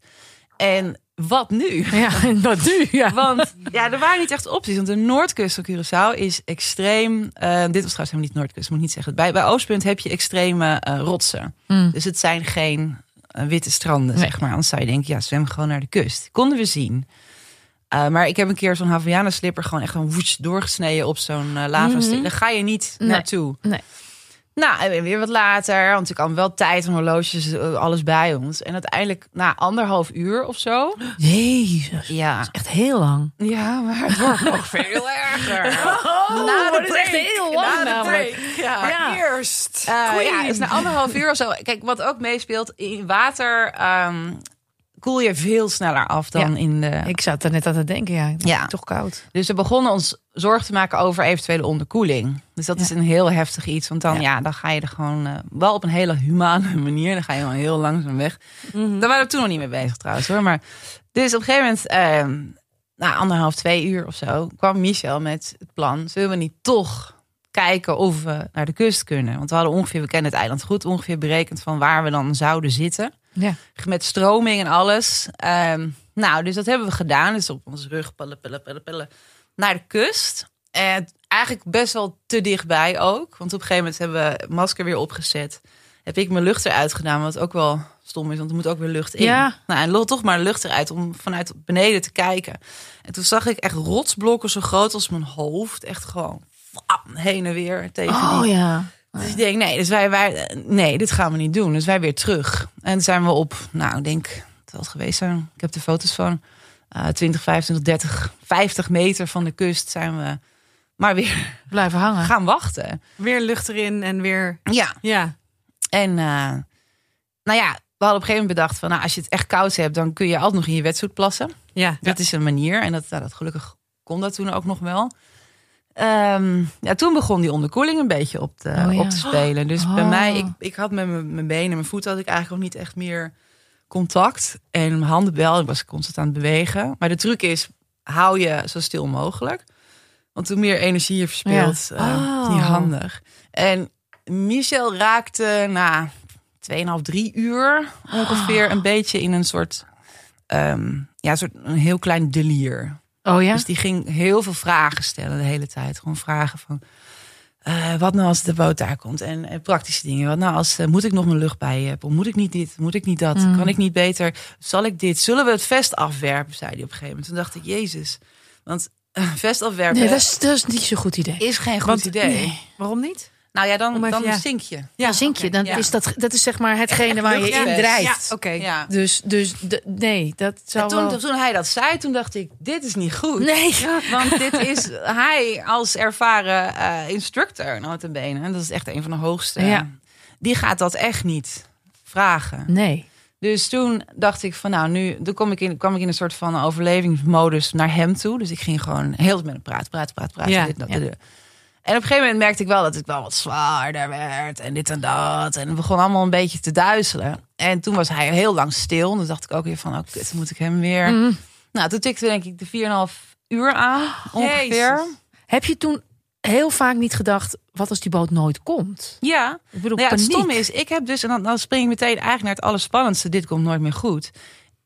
En wat nu?
Ja, <laughs> en dat nu. Ja.
Want ja, er waren niet echt opties. Want de noordkust van Curaçao is extreem. eh, dit was trouwens helemaal niet noordkust, moet ik niet zeggen. Bij, bij Oostpunt heb je extreme eh, rotsen.
Mm.
Dus het zijn geen eh, witte stranden,
Nee.
zeg maar. Anders zou je denken, ja, zwem gewoon naar de kust. Konden we zien. Eh, maar ik heb een keer zo'n Havana slipper gewoon echt een woets doorgesneden op zo'n eh, lavasteen.
Mhm.
Daar ga je niet
Nee.
naartoe.
Nee.
Nou, en weer wat later, want ik kwam wel tijd en horloges, eh, alles bij ons. En uiteindelijk na anderhalf uur of zo.
Oh, Jezus. dat
Ja,
is Echt heel lang.
ja maar het wordt nog veel <laughs> erger.
na
Oh, dat
de
is
break.
echt heel
Na
lang
de
namelijk.
break.
Ja.
Ja.
Eerst.
Eh, ja, dus na anderhalf uur of zo. Kijk, wat ook meespeelt, in water ehm, koel je veel sneller af dan
Ja.
in de...
Ik zat er net aan te denken, ja.
Ja.
Toch koud.
Dus we begonnen ons zorgen te maken over eventuele onderkoeling. Dus dat is een heel heftig iets. Want dan, ja.
Ja.
dan ga je er gewoon eh, wel op een hele humane <laughs> manier. Dan ga je gewoon heel langzaam weg.
Mhm.
Daar waren we toen nog niet mee bezig trouwens hoor. Maar dus op een gegeven moment, ehm, na anderhalf, twee uur of zo, kwam Michel met het plan. Zullen we niet toch kijken of we naar de kust kunnen? Want we hadden ongeveer, we kennen het eiland goed, ongeveer berekend van waar we dan zouden zitten.
Ja.
Met stroming en alles. Ehm, nou, dus dat hebben we gedaan. Dus op onze rug, pillen, pillen, pillen, pillen, naar de kust. En eigenlijk best wel te dichtbij ook. Want op een gegeven moment hebben we het masker weer opgezet. Heb ik mijn lucht eruit gedaan, wat ook wel stom is, want er moet ook weer lucht in.
Ja.
Nou, en lol toch maar lucht eruit om vanuit beneden te kijken. En toen zag ik echt rotsblokken zo groot als mijn hoofd. Echt gewoon wam, heen en weer tegen die
Oh ja.
dus ik denk, nee, dus wij, wij, nee, dit gaan we niet doen. Dus wij weer terug. En zijn we op, nou, ik denk, het zal het geweest zijn. Ik heb de foto's van eh 20, 25, 30, 50 meter van de kust zijn we maar weer
Blijven hangen.
gaan wachten.
Weer lucht erin en weer...
Ja.
Ja,
En eh, nou ja, we hadden op een gegeven moment bedacht van, nou, als je het echt koud hebt, dan kun je altijd nog in je wetsuit plassen.
ja.
Dat is een manier. En dat, nou, dat gelukkig kon dat toen ook nog wel. Ehm, ja, toen begon die onderkoeling een beetje op te,
Oh ja.
op te spelen. Dus bij
Oh.
mij, ik, ik had met mijn mijn benen en mijn voeten had ik eigenlijk nog niet echt meer contact. En mijn handen wel, ik was constant aan het bewegen. Maar de truc is, hou je zo stil mogelijk. Want hoe meer energie je verspilt,
Ja.
eh, is niet
Oh.
handig. En Michel raakte na 2,5, 3 uur
Oh.
ongeveer een beetje in een soort, ehm, ja, soort een heel klein delier.
Oh ja?
Dus die ging heel veel vragen stellen de hele tijd. Gewoon vragen van, eh, wat nou als de boot daar komt? En, eh, praktische dingen. Wat nou als, eh, moet ik nog mijn lucht bij je hebben? Moet ik niet dit? Moet ik niet dat?
Mm.
Kan ik niet beter? Zal ik dit? Zullen we het vest afwerpen? Zei hij op een gegeven moment. Toen dacht ik, jezus. Want eh, vest afwerpen
Nee, dat
is...
is, dat is niet zo'n goed idee.
geen goed
Want-
idee.
nee.
Waarom niet?
Nou ja,
Om
dan,
even-
dan
ja.
zink je.
Ja, zink je.
oké,
Dan
ja.
is dat, dat is zeg maar hetgene
Echt
waar je
luchtjes.
in
Ja,
drijft.
oké.
Ja.
Dus, dus d- nee, dat
En
zou
toen,
wel...
toen hij dat zei, toen dacht ik, dit is niet goed.
Nee.
Want dit is hij als ervaren eh instructor, nota bene. En dat is echt een van de hoogste.
Ja.
Die gaat dat echt niet vragen.
Nee.
Dus toen dacht ik van nou, nu toen kom ik in, kwam ik in een soort van overlevingsmodus naar hem toe. Dus ik ging gewoon heel met hem praten, praten, praten, praten.
Ja,
dit, dat,
ja.
dit, dat. En op een gegeven moment merkte ik wel dat ik wel wat zwaarder werd en dit en dat. En het begon allemaal een beetje te duizelen. En toen was hij heel lang stil. En toen dacht ik ook weer van, oh kut, moet ik hem weer...
Mm.
Nou, toen tikte denk ik de 4,5 uur aan, ongeveer.
Jezus.
Heb je toen heel vaak niet gedacht, wat als die boot nooit komt?
Ja.
Ik bedoel,
Nou ja, het
paniek.
stomme is, ik heb dus, en dan, dan spring ik meteen eigenlijk naar het allerspannendste, dit komt nooit meer goed.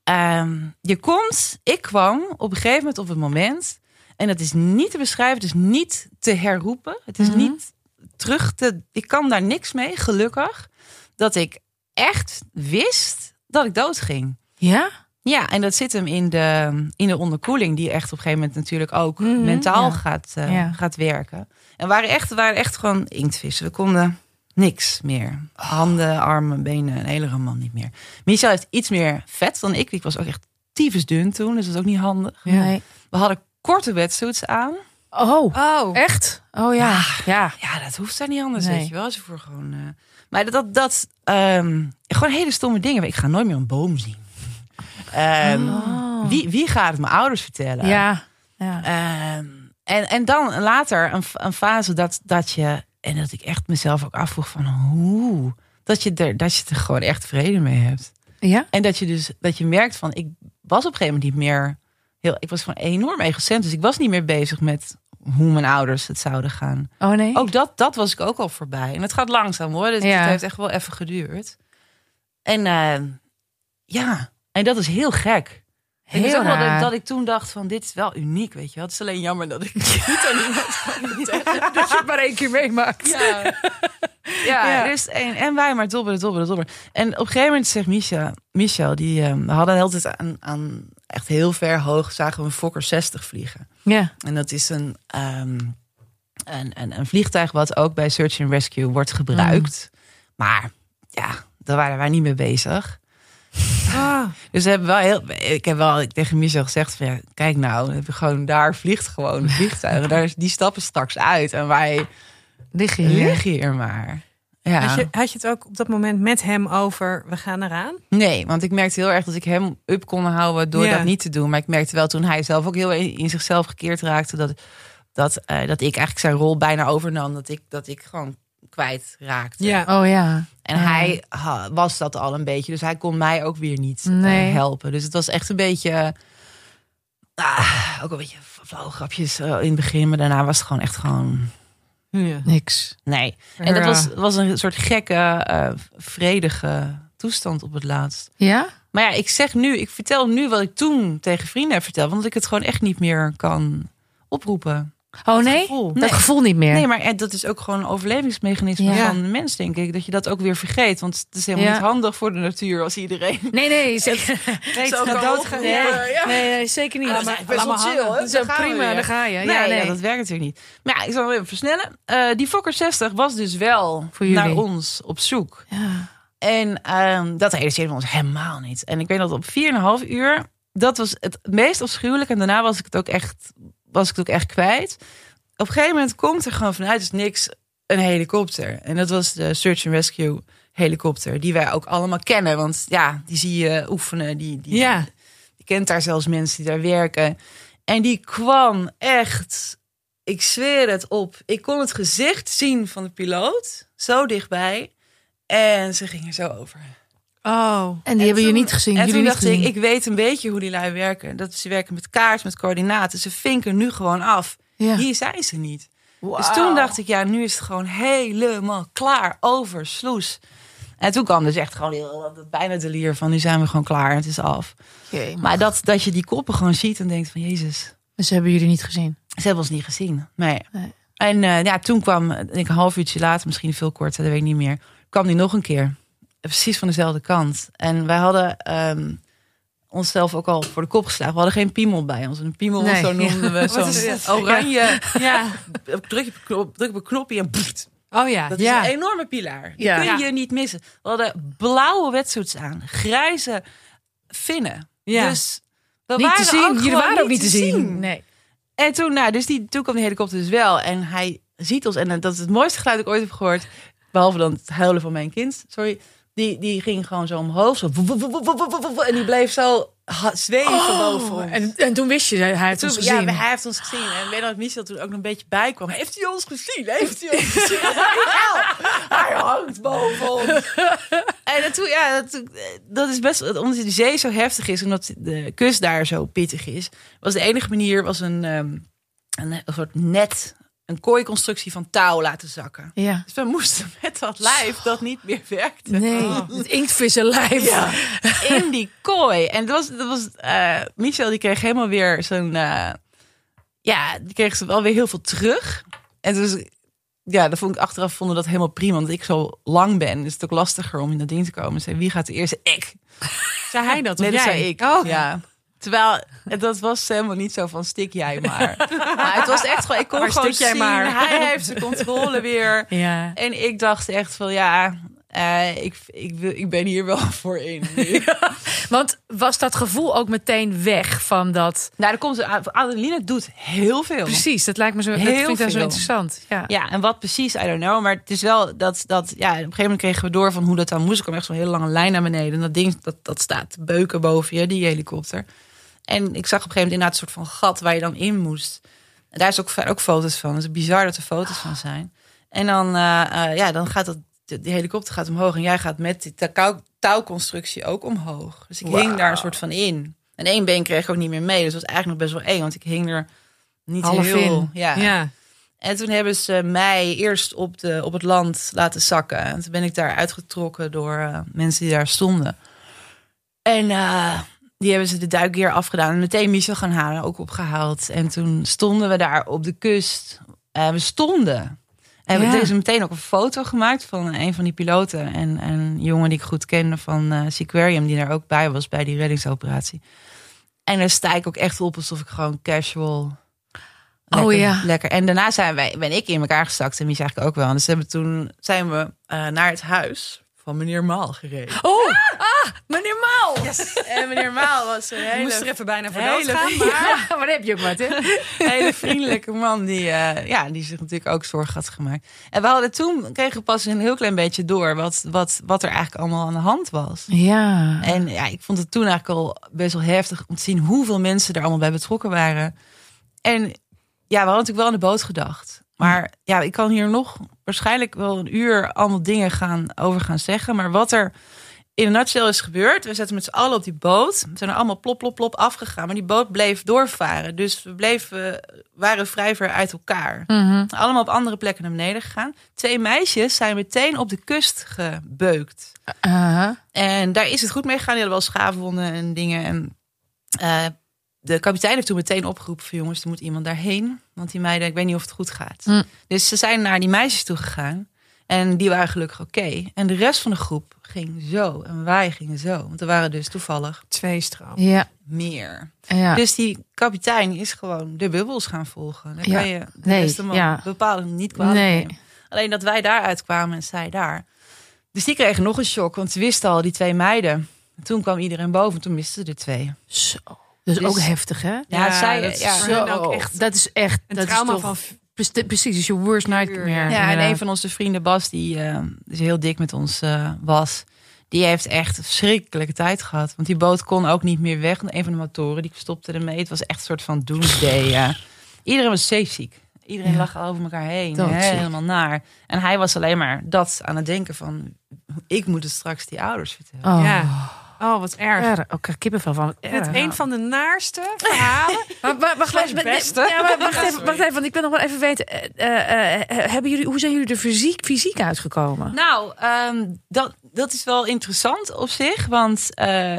Ehm, je komt, ik kwam op een gegeven moment op het moment, en dat is niet te beschrijven, het is niet te herroepen, het is
Mhm.
niet terug te, ik kan daar niks mee, gelukkig, dat ik echt wist dat ik doodging.
Ja?
Ja, en dat zit hem in de, in de onderkoeling, die echt op een gegeven moment natuurlijk ook
Mhm,
mentaal
ja.
Gaat, eh,
Ja.
gaat werken. En waren echt, waren echt gewoon inktvissen. We konden niks meer. Handen,
Oh.
armen, benen, een hele man niet meer. Michel heeft iets meer vet dan ik. Ik was ook echt tyfusdun toen, dus dat is ook niet handig.
Nee.
We hadden korte wetsuits aan.
Oh,
Oh.
echt? Oh ja. Ja.
Ja, dat hoeft daar niet anders,
Nee.
weet je wel. Als je voor gewoon... eh, Maar dat, dat, dat ehm, gewoon hele stomme dingen. Ik ga nooit meer een boom zien. Ehm,
Oh.
wie, wie gaat het mijn ouders vertellen?
Ja. ja.
Ehm, en, en dan later een, f- een fase dat, dat je, en dat ik echt mezelf ook afvroeg van hoe, dat je, er, dat je er gewoon echt vrede mee hebt.
Ja?
En dat je dus, dat je merkt van, ik was op een gegeven moment niet meer, heel, ik was gewoon enorm egocentrisch. Dus Ik was niet meer bezig met hoe mijn ouders het zouden gaan.
Oh nee?
Ook dat, dat was ik ook al voorbij. En het gaat langzaam hoor, dus
Ja.
het heeft echt wel even geduurd. En ehm, ja, en dat is heel gek. Ik weet
Heel
ook wel dat,
raar.
dat ik toen dacht van dit is wel uniek, weet je wel. Het is alleen jammer dat ik niet aan iemand kan vertellen.
dat je het maar één keer meemaakt.
<laughs> Ja, ja,
Ja.
er is één. En wij maar dobberen, dobberen, dobberen. En op een gegeven moment zegt Micha, Michel, die ehm, we hadden de hele tijd aan, aan echt heel ver hoog, zagen we een Fokker 60 vliegen.
Ja.
En dat is een, ehm, een, een, een vliegtuig wat ook bij Search and Rescue
Mm.
wordt gebruikt. Maar ja, daar waren wij niet mee bezig.
Ah.
Dus we hebben wel heel, ik heb wel tegen Michel gezegd: van, ja, kijk nou, we hebben gewoon, daar vliegt gewoon een vliegtuig. daar, is- die stappen straks uit en wij
Lig je hier?
liggen hier maar. Ja.
Had, je, had je het ook op dat moment met hem over, we gaan eraan?
Nee, want ik merkte heel erg dat ik hem up kon houden door
Ja.
dat niet te doen. Maar ik merkte wel toen hij zelf ook heel in in zichzelf gekeerd raakte, dat, dat, eh, dat ik eigenlijk zijn rol bijna overnam. Dat ik, dat ik gewoon kwijt raakte.
Oh ja.
En
Ah.
hij ha- was dat al een beetje. Dus hij kon mij ook weer niet eh,
Nee.
helpen. Dus het was echt een beetje. eh, ah, ook een beetje flauwe grapjes eh, in het begin. Maar daarna was het gewoon echt gewoon.
Ja.
Niks.
Nee. En dat
Ja.
was, was een soort gekke, eh, vredige toestand op het laatst.
Ja?
Maar ja, ik zeg nu, ik vertel nu wat ik toen tegen vrienden heb verteld. Want ik het gewoon echt niet meer kan oproepen.
Oh nee?
gevoel.
Dat
Nee.
gevoel niet meer.
Nee, maar eh, dat is ook gewoon een overlevingsmechanisme
Ja.
van de mens, denk ik. Dat je dat ook weer vergeet. Want het is helemaal
Ja.
niet handig voor de natuur als iedereen
Nee, nee,
<laughs>
zeker,
Zo
dat
kan
dood
het
gaan. Ja.
gebeuren. Ja.
nee, nee, zeker niet.
Ah, dat is
Maar- laat
eigenlijk best wel
maar
chill,
hangen.
hè?
Dat is
Daar
wel
gaan we
prima,
weer.
daar ga je.
nee,
ja,
ja,
nee.
dat werkt natuurlijk niet. Maar ja, ik zal hem even versnellen. Eh, die Fokker 60 was dus wel
Voor jullie.
naar ons op zoek.
Ja.
En ehm, dat realiseerden we ons helemaal niet. En ik weet dat op 4,5 uur, dat was het meest afschuwelijk. En daarna was ik het ook echt, was ik het ook echt kwijt. Op een gegeven moment komt er gewoon vanuit het niks een helikopter. En dat was de Search and Rescue helikopter. Die wij ook allemaal kennen. Want ja, die zie je oefenen. Die, die,
Ja.
je kent daar zelfs mensen die daar werken. En die kwam echt, ik zweer het op. Ik kon het gezicht zien van de piloot, zo dichtbij. En ze ging er zo over.
Oh.
En die hebben jullie niet gezien.
En
jullie
toen
niet
dacht ik,
gezien.
ik weet een beetje hoe die lui werken. Dat ze werken met kaart, met coördinaten. Ze vinken nu gewoon af.
ja.
Hier zijn ze niet. Dus toen dacht ik, ja, nu is het gewoon helemaal klaar. Over, sloes. En toen kwam dus echt gewoon heel- dat bijna de lier van, nu zijn we gewoon klaar. Het is af.
Jee, maar
Maar dat, dat je die koppen gewoon ziet en denkt van, jezus.
ze hebben jullie niet gezien.
Ze hebben ons niet gezien. Nee.
Nee.
En eh, ja, toen kwam, eh, denk ik een half uurtje later, misschien veel korter, dat weet ik niet meer. Kwam die nog een keer. Precies van dezelfde kant. En wij hadden ehm, onszelf ook al voor de kop geslagen. We hadden geen piemel bij ons. Een piemel,
Nee.
zo noemden <laughs> we
Wat is dit?
zo'n oranje.
Ja.
Druk je knop- druk op een knopje en pfft.
Oh ja.
Dat
Ja.
is een enorme pilaar. Die
Ja.
kun je
Ja.
niet missen. We hadden blauwe wetsuits aan. Grijze vinnen.
Ja.
Dus we
Niet te
waren
zien.
Ook
Jullie
gewoon
waren ook niet te zien.
zien.
Nee.
En toen, nou, dus die, toen kwam die helikopter dus wel. En hij ziet ons. En eh, dat is het mooiste geluid dat ik ooit heb gehoord. Behalve dan het huilen van mijn kind. Sorry. Die, die ging gewoon zo omhoog. Zo, woe, woe, woe, woe, woe, woe, woe, en die bleef zo ha- zweven boven ons.
Oh. en, en toen wist je, hij heeft
Toen-
ons gezien.
ja, maar hij heeft ons gezien. En ik weet nog dat Michel toen ook nog een beetje bij kwam. Heeft hij ons gezien? Heeft <laughs> hij ons gezien? Ja, hij hangt boven ons. <laughs> En dat, toen, ja, dat, dat is best... Omdat die zee zo heftig is, omdat de kust daar zo pittig is... was de enige manier was een, ehm, een, een soort net, een kooiconstructie van touw laten zakken. <laughs>
Ja.
Dus we moesten met dat lijf dat niet meer werkte
Nee.
Het inktvissenlijf. Ja.
in die kooi. En dat was, dat was eh, Michel die kreeg helemaal weer zo'n, eh, ja, die kreeg ze wel weer heel veel terug. En dus, ja, dat vond ik achteraf vonden we dat helemaal prima, want ik zo lang ben, is het ook lastiger om in de ding te komen. Zei, wie gaat de eerste? Ik.
Zei hij dat? Of
Nee, dat
jij?
zei ik.
Oh.
Ja. Terwijl, dat was helemaal niet zo van stik
<laughs>
jij maar. maar het was echt gewoon, ik kon
Maar
gewoon
stik jij
zien,
maar.
hij heeft de controle weer.
ja.
En ik dacht echt van, ja, eh, ik, ik, wil- ik ben hier wel <laughs> voor in. nu.
Want was dat gevoel ook meteen weg van dat...
Nou, dan komt ze. Adeline doet heel veel.
Precies, dat lijkt me zo, dat
Heel
vind ik dan zo
veel.
interessant. Ja.
Ja, en wat precies, I don't know. Maar het is wel dat, dat ja, op een gegeven moment kregen we door van hoe dat dan moest. Er kwam echt zo'n hele lange lijn naar beneden. En dat ding, dat, dat staat te beuken boven je, die helikopter. En ik zag op een gegeven moment inderdaad een soort van gat waar je dan in moest. En daar is ook, verder ook foto's van. Het is bizar dat er foto's van zijn. En dan, eh, eh, ja, dan gaat dat, de, die helikopter gaat omhoog. En jij gaat met die takau- touwconstructie ook omhoog. Dus ik hing daar een soort van in. En één been kreeg ik ook niet meer mee. Dus dat was eigenlijk nog best wel eng, want ik hing er niet
Half
heel...
in. Ja.
En toen hebben ze mij eerst op, de, op het land laten zakken. En toen ben ik daar uitgetrokken door eh, mensen die daar stonden. En eh, die hebben ze de duikgear afgedaan. En meteen Michel gaan halen, ook opgehaald. En toen stonden we daar op de kust. En we stonden. En
Ja.
er is meteen ook een foto gemaakt van een van die piloten. En en een jongen die ik goed kende van eh Sequarium, die daar ook bij was bij die reddingsoperatie. En daar sta ik ook echt op alsof ik gewoon casual.
Oh
lekker-
ja.
Lekker. En daarna zijn wij, ben ik in elkaar gestakt en die eigenlijk ook wel. En dus hebben toen zijn we eh, naar het huis van meneer Maal gereden.
Oh, ah, meneer Maal!
En meneer Maal was een
Je moest
hele,
Oh. er even bijna voor
hele,
doodgaan.
Ja, <laughs> maar daar heb je ook wat, hè?
<laughs> hele vriendelijke man die, eh, ja, die zich natuurlijk ook zorgen had gemaakt. En we hadden toen kregen we pas een heel klein beetje door wat, wat, wat er eigenlijk allemaal aan de hand was.
Ja.
En ja, ik vond het toen eigenlijk al best wel heftig om te zien hoeveel mensen er allemaal bij betrokken waren. En ja, we hadden natuurlijk wel aan de boot gedacht. Maar ja, ik kan hier nog waarschijnlijk wel een uur allemaal dingen gaan, over gaan zeggen. Maar wat er in een nutshell is gebeurd, we zaten met z'n allen op die boot. We zijn er allemaal plop, plop, plop afgegaan. Maar die boot bleef doorvaren. Dus we bleven, waren vrij ver uit elkaar. Allemaal op andere plekken naar beneden gegaan. Twee meisjes zijn meteen op de kust gebeukt.
Aha.
En daar is het goed mee gegaan. Die hadden wel schaafwonden en dingen. En eh, de kapitein heeft toen meteen opgeroepen van jongens, er moet iemand daarheen. Want die meiden, ik weet niet of het goed gaat.
Hm.
Dus ze zijn naar die meisjes toe gegaan. En die waren gelukkig oké. En de rest van de groep ging zo. En wij gingen zo. Want er waren dus toevallig
Twee stroom.
Ja.
meer.
Ja.
Dus die kapitein is gewoon de bubbels gaan volgen. Dan
Ja.
kan je de
Nee,
beste man
ja.
bepalen niet kwalijk
Nee.
nemen. Alleen dat wij daar uitkwamen en zij daar. Dus die kregen nog een shock, want ze wisten al die twee meiden. Toen kwam iedereen boven, toen misten ze de twee.
Zo. Dat is
Dus-
ook heftig, hè?
Ja,
Ja,
zij,
dat is
ja.
voor
Zo.
hen ook echt
dat is echt.
Een
dat is
trauma
toch-
van
Pre- Precies, is je worst nightmare.
Ja, en
Ja, en een
inderdaad.
van onze vrienden, Bas, die eh, dus heel dik met ons eh, was. Die heeft echt een verschrikkelijke tijd gehad. Want die boot kon ook niet meer weg. Een van de motoren, die stopte ermee. Het was echt een soort van doomsday. eh. Iedereen was zeeziek. Iedereen
Ja.
lag over elkaar heen.
Dat
hè,
zie ik.
helemaal naar. En hij was alleen maar dat aan het denken van... Ik moet het straks die ouders vertellen.
Oh,
Ja. Oh, wat erg.
erg. Oh, ik krijg kippenvel van.
Met
Erg.
een van de naarste verhalen.
Maar, wa- wacht,
Slash
even, nee,
beste.
ja, maar wacht,
Ja,
even, wacht
sorry.
even, want ik wil nog wel even weten. eh, eh, eh, hebben jullie, hoe zijn jullie er fysiek, fysiek uitgekomen?
Nou, ehm, dat, dat is wel interessant op zich. Want eh,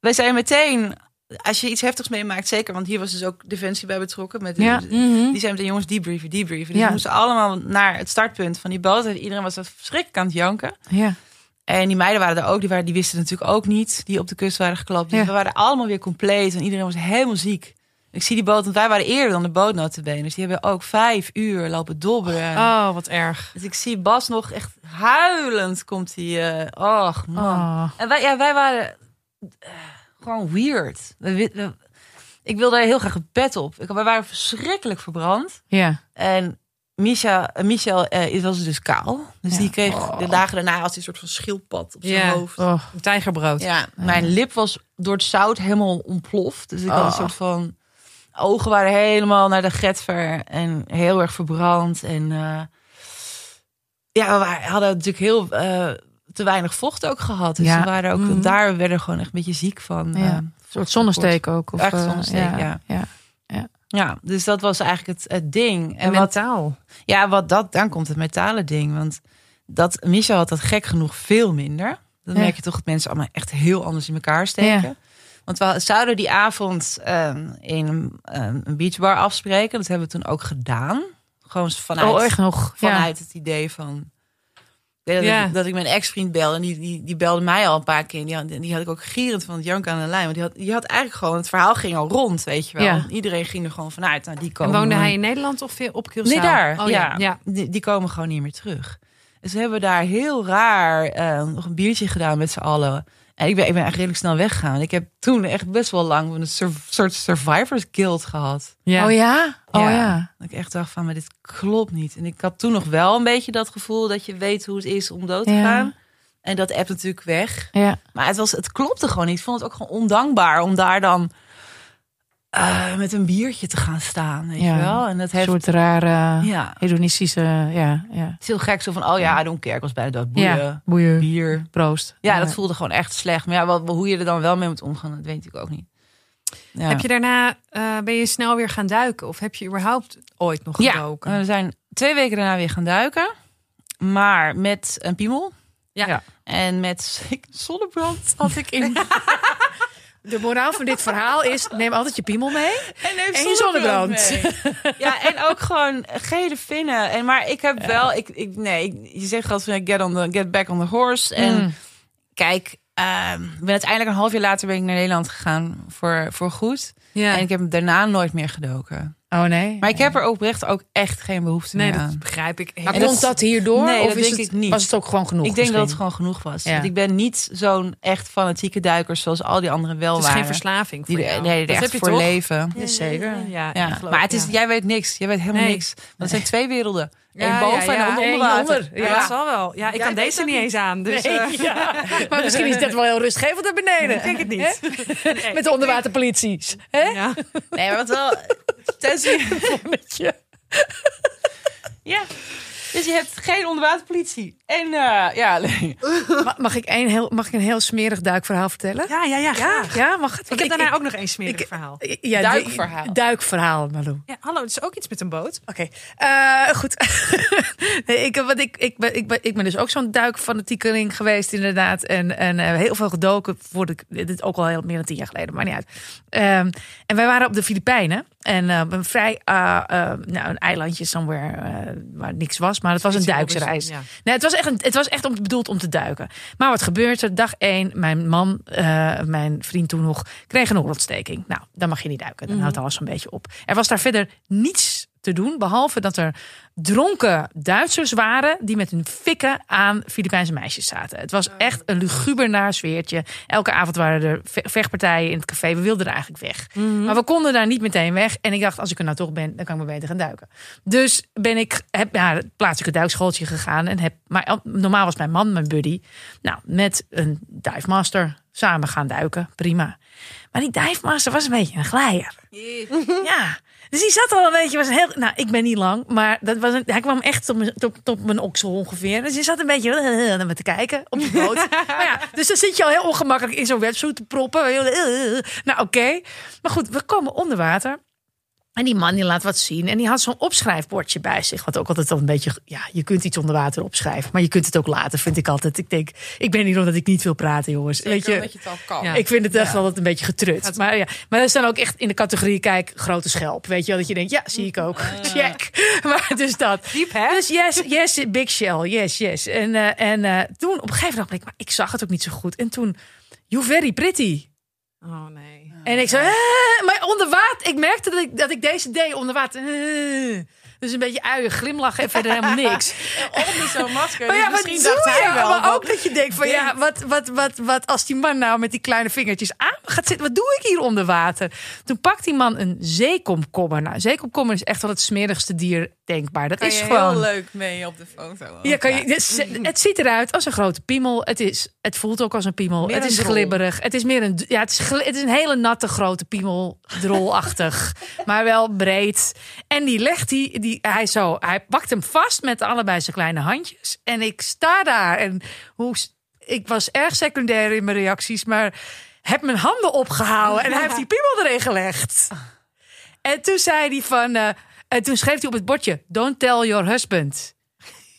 wij zijn meteen... Als je iets heftigs meemaakt, zeker. Want hier was dus ook Defensie bij betrokken. Met
Ja.
Die zijn meteen, jongens, debriefen, debriefen. Dus
Ja.
we moesten allemaal naar het startpunt van die boot. En iedereen was verschrikkelijk aan het janken.
Ja.
En die meiden waren er ook. Die, waren, die wisten natuurlijk ook niet. Die op de kust waren geklapt. Dus
Ja.
we waren allemaal weer compleet. En iedereen was helemaal ziek. Ik zie die boot, want wij waren eerder dan de boot notabene. Dus die hebben ook vijf uur lopen dobberen.
Oh, wat erg.
Dus ik zie Bas nog echt huilend komt hij. eh och man.
Oh.
En wij, ja, wij waren eh, gewoon weird. We, wi- we- ik wilde heel graag het bed op. Ik, wij waren verschrikkelijk verbrand.
Ja.
En Micha, eh, Michel eh, was dus kaal. Dus
Ja.
die kreeg
Oh.
de dagen daarna als een soort van schildpad op zijn
Ja.
hoofd.
Oh.
Tijgerbrood.
Ja, mijn lip was door het zout helemaal ontploft. Dus ik had een
Oh.
soort van... Ogen waren helemaal naar de getver en heel erg verbrand. En eh, ja, we waren- hadden natuurlijk heel eh, te weinig vocht ook gehad. Dus
Ja.
we waren ook,
Mhm.
daar werden we gewoon echt een beetje ziek van.
Ja.
eh,
Een soort zonnesteek ook. Of,
Echt
eh,
zonnesteek, ja.
ja.
Ja, dus dat was eigenlijk het, het ding.
En
En wat
mentaal.
Ja, wat dat, dan komt het metalen ding. Want dat, Michel had dat gek genoeg veel minder. Dan
Ja.
merk je toch dat mensen allemaal echt heel anders in elkaar steken.
Ja.
Want we zouden die avond ehm, in ehm, een beachbar afspreken. Dat hebben we toen ook gedaan. Gewoon vanuit,
Oh, echt nog. Ja.
vanuit het idee van... Ik weet Dat,
Ja.
ik, dat ik mijn ex-vriend belde. En die, die, die belde mij al een paar keer. En die had, die had ik ook gierend van het janken aan de lijn. Want die had, die had eigenlijk gewoon... Het verhaal ging al rond, weet je wel.
Ja.
Iedereen ging er gewoon vanuit. Nou, die
En
komen.
woonde
we-
hij in Nederland of op Curaçao?
Nee, daar.
Oh,
ja.
ja.
Die, die komen gewoon niet meer terug. Dus we hebben daar heel raar eh, nog een biertje gedaan met z'n allen. En ik ben, ik ben eigenlijk redelijk snel weggegaan. Ik heb toen echt best wel lang een sur- soort survivors guild gehad.
Ja.
Oh ja? Oh ja.
Dat ik echt dacht van, maar dit klopt niet. En ik had toen nog wel een beetje dat gevoel dat je weet hoe het is om dood te
Ja.
gaan. En dat app natuurlijk weg.
Ja.
Maar het, was, het klopte gewoon niet. Ik vond het ook gewoon ondankbaar om daar dan eh, met een biertje te gaan staan. Weet
Ja.
je wel? En dat
Een
heeft...
soort rare
ja.
hedonistische... Ja. Ja.
Het is heel gek, zo van, oh ja, I don't care, ik was bijna dood. Boeien,
Ja. Boeien.
bier.
Proost.
Ja, dat voelde gewoon echt slecht. Maar ja, wat, hoe je er dan wel mee moet omgaan, dat weet ik ook niet. Ja.
Heb je daarna, eh, ben je snel weer gaan duiken? Of heb je überhaupt ooit nog
Ja.
gedoken?
We zijn twee weken daarna weer gaan duiken. Maar met een piemel.
Ja.
Ja.
En met <laughs> zonnebrand had ik
<laughs>
in.
De moraal van dit verhaal is, neem altijd je piemel mee.
En heeft
En je zonnebrand.
mee. <laughs> Ja, en ook gewoon gele vinnen. En, maar ik heb wel... Ik, ik, nee, ik- je zegt altijd, van, get, on the, get back on the horse. En
Mm.
kijk, ehm, ik ben uiteindelijk een half jaar later ben ik naar Nederland gegaan voor, voor goed.
Ja.
En ik heb hem daarna nooit meer gedoken.
Oh nee.
Maar ik heb er oprecht ook echt geen behoefte
Nee,
meer
dat
aan.
begrijp ik.
Maar
En
komt dat,
dat-
hierdoor?
Nee,
of
dat
is
denk
het,
ik niet.
Was het ook gewoon genoeg?
Ik denk dat het
misschien?
gewoon genoeg was.
Ja.
Want ik ben niet zo'n echt fanatieke duiker zoals al die anderen wel
Het is
waren.
geen verslaving voor
die er,
jou.
nee, die
dat
er
heb
echt
je
voor
toch?
leven.
Ja, zeker. Ja,
Ja.
ik geloof-
Maar het is,
ja.
jij weet niks. Jij weet helemaal
Nee.
niks. Want het zijn twee werelden.
Ja,
Eén boven
ja, ja.
en één
Eén
onder water.
onder.
Ja,
Ja.
dat zal wel. Ja, ik
Jij
kan
weet
deze
dat
niet eens aan. Dus,
Nee,
eh,
<laughs> ja. Maar misschien is dat wel heel rustgevend naar
<laughs>
beneden.
Ik denk het niet. Nee.
Met de onderwaterpolities. Hè?
Ja.
Nee, maar wat <laughs> wel... Tenzij,
Met je.
ja. Dus je hebt geen onderwaterpolitie. En eh, ja, <laughs> nee.
Ma- Mag ik, een heel, mag ik een heel smerig duikverhaal vertellen?
ja, ja, ja, graag.
Ja, mag het?
Ik heb daarna ook nog één smerig verhaal.
Ja, die-
Duikverhaal.
Duikverhaal, Malou.
Ja, hallo, het is ook iets met een boot.
Oké, eh, goed. <laughs> nee, ik, want ik, ik, ben, ik, ben, ik ben dus ook zo'n duikfanatiekeling geweest, inderdaad. En, en eh, heel veel gedoken. Voor de, dit is ook al heel, meer dan tien jaar geleden, maar niet uit. Ehm, en wij waren op de Filipijnen. En eh, op een vrij, eh, eh, nou, een eilandje somewhere eh, waar niks was. Maar het was een duiksreis.
Ja.
Nee, het was echt, een, het was echt om, bedoeld om te duiken. Maar wat gebeurt er? Dag één, mijn man, eh, mijn vriend toen nog, kreeg een oorontsteking. Nou, dan mag je niet duiken. Dan houdt alles een beetje op. Er was daar verder niets te doen, behalve dat er dronken Duitsers waren die met hun fikken aan Filipijnse meisjes zaten. Het was echt een luguber naar sfeertje. Elke avond waren er ve- vechtpartijen in het café. We wilden er eigenlijk weg. Maar we konden daar niet meteen weg. En ik dacht, als ik er nou toch ben, dan kan ik maar beter gaan duiken. Dus ben ik, heb naar het plaatselijke duikschooltje gegaan. En heb, maar oh, normaal was mijn man mijn buddy. Nou, met een dive master samen gaan duiken. Prima. Maar die dive master was een beetje een glijer. <laughs> Ja. Dus die zat al een beetje, was een heel. Nou, ik ben niet lang, maar dat was een, hij kwam echt tot mijn, tot, tot mijn oksel ongeveer. Dus hij zat een beetje <laughs> eh, naar me te kijken op de boot. maar ja, dus dan zit je al heel ongemakkelijk in zo'n wetsuit te proppen. <laughs> Heel, eh, eh. Nou, oké. Maar goed, we komen onder water. En die man die laat wat zien. En die had zo'n opschrijfbordje bij zich. Wat ook altijd al een beetje. Ja, je kunt iets onder water opschrijven. Maar je kunt het ook laten, vind ik altijd. Ik denk, ik ben hier omdat ik niet wil praten, jongens. Weet je,
dat je het al kan.
ja. Ik vind het echt altijd een beetje getrut. Maar, ja. maar dat is dan ook echt in de categorie, kijk, grote schelp. Weet je wel, dat je denkt, ja, zie ik ook. <laughs> Check. Maar dus dat.
Diep, hè?
Dus yes, yes, big shell, yes, yes. En, eh, en eh, toen, op een gegeven moment, dacht ik, maar ik zag het ook niet zo goed. En toen, you very pretty.
Oh nee.
En ik zei, "Eh," maar onder water. Ik merkte dat ik, dat ik deze deed onder water. <laughs> Eh. Dus een beetje uien, glimlachen en verder helemaal niks.
Onder zo'n masker.
Maar ja,
dus
wat
misschien
doe
dacht
je?
hij wel.
Maar
wat-
ook dat je denkt van ja, wat, wat, wat, wat als die man nou met die kleine vingertjes aan gaat zitten. Wat doe ik hier onder water? Toen pakt die man een zeekomkommer. Nou, een zeekomkommer is echt wel het smerigste dier denkbaar. Dat
Kan
is
je
gewoon...
heel leuk mee op de foto. ook.
Ja, kan je, het, is- het ziet eruit als een grote piemel. Het, is, het voelt ook als een piemel.
Meer
het
een
is
drol.
glibberig. Het is meer een, ja, het is, gl- het is een hele natte grote piemel.
<laughs>
Drolachtig, maar wel breed. En die legt die, die, hij zo, hij pakt hem vast met allebei zijn kleine handjes. En ik sta daar en hoe, s- ik was erg secundair in mijn reacties, maar heb mijn handen opgehouden en hij
<laughs>
heeft die piemel erin gelegd. En toen zei hij van, eh, en toen schreef hij op het bordje, don't tell your husband.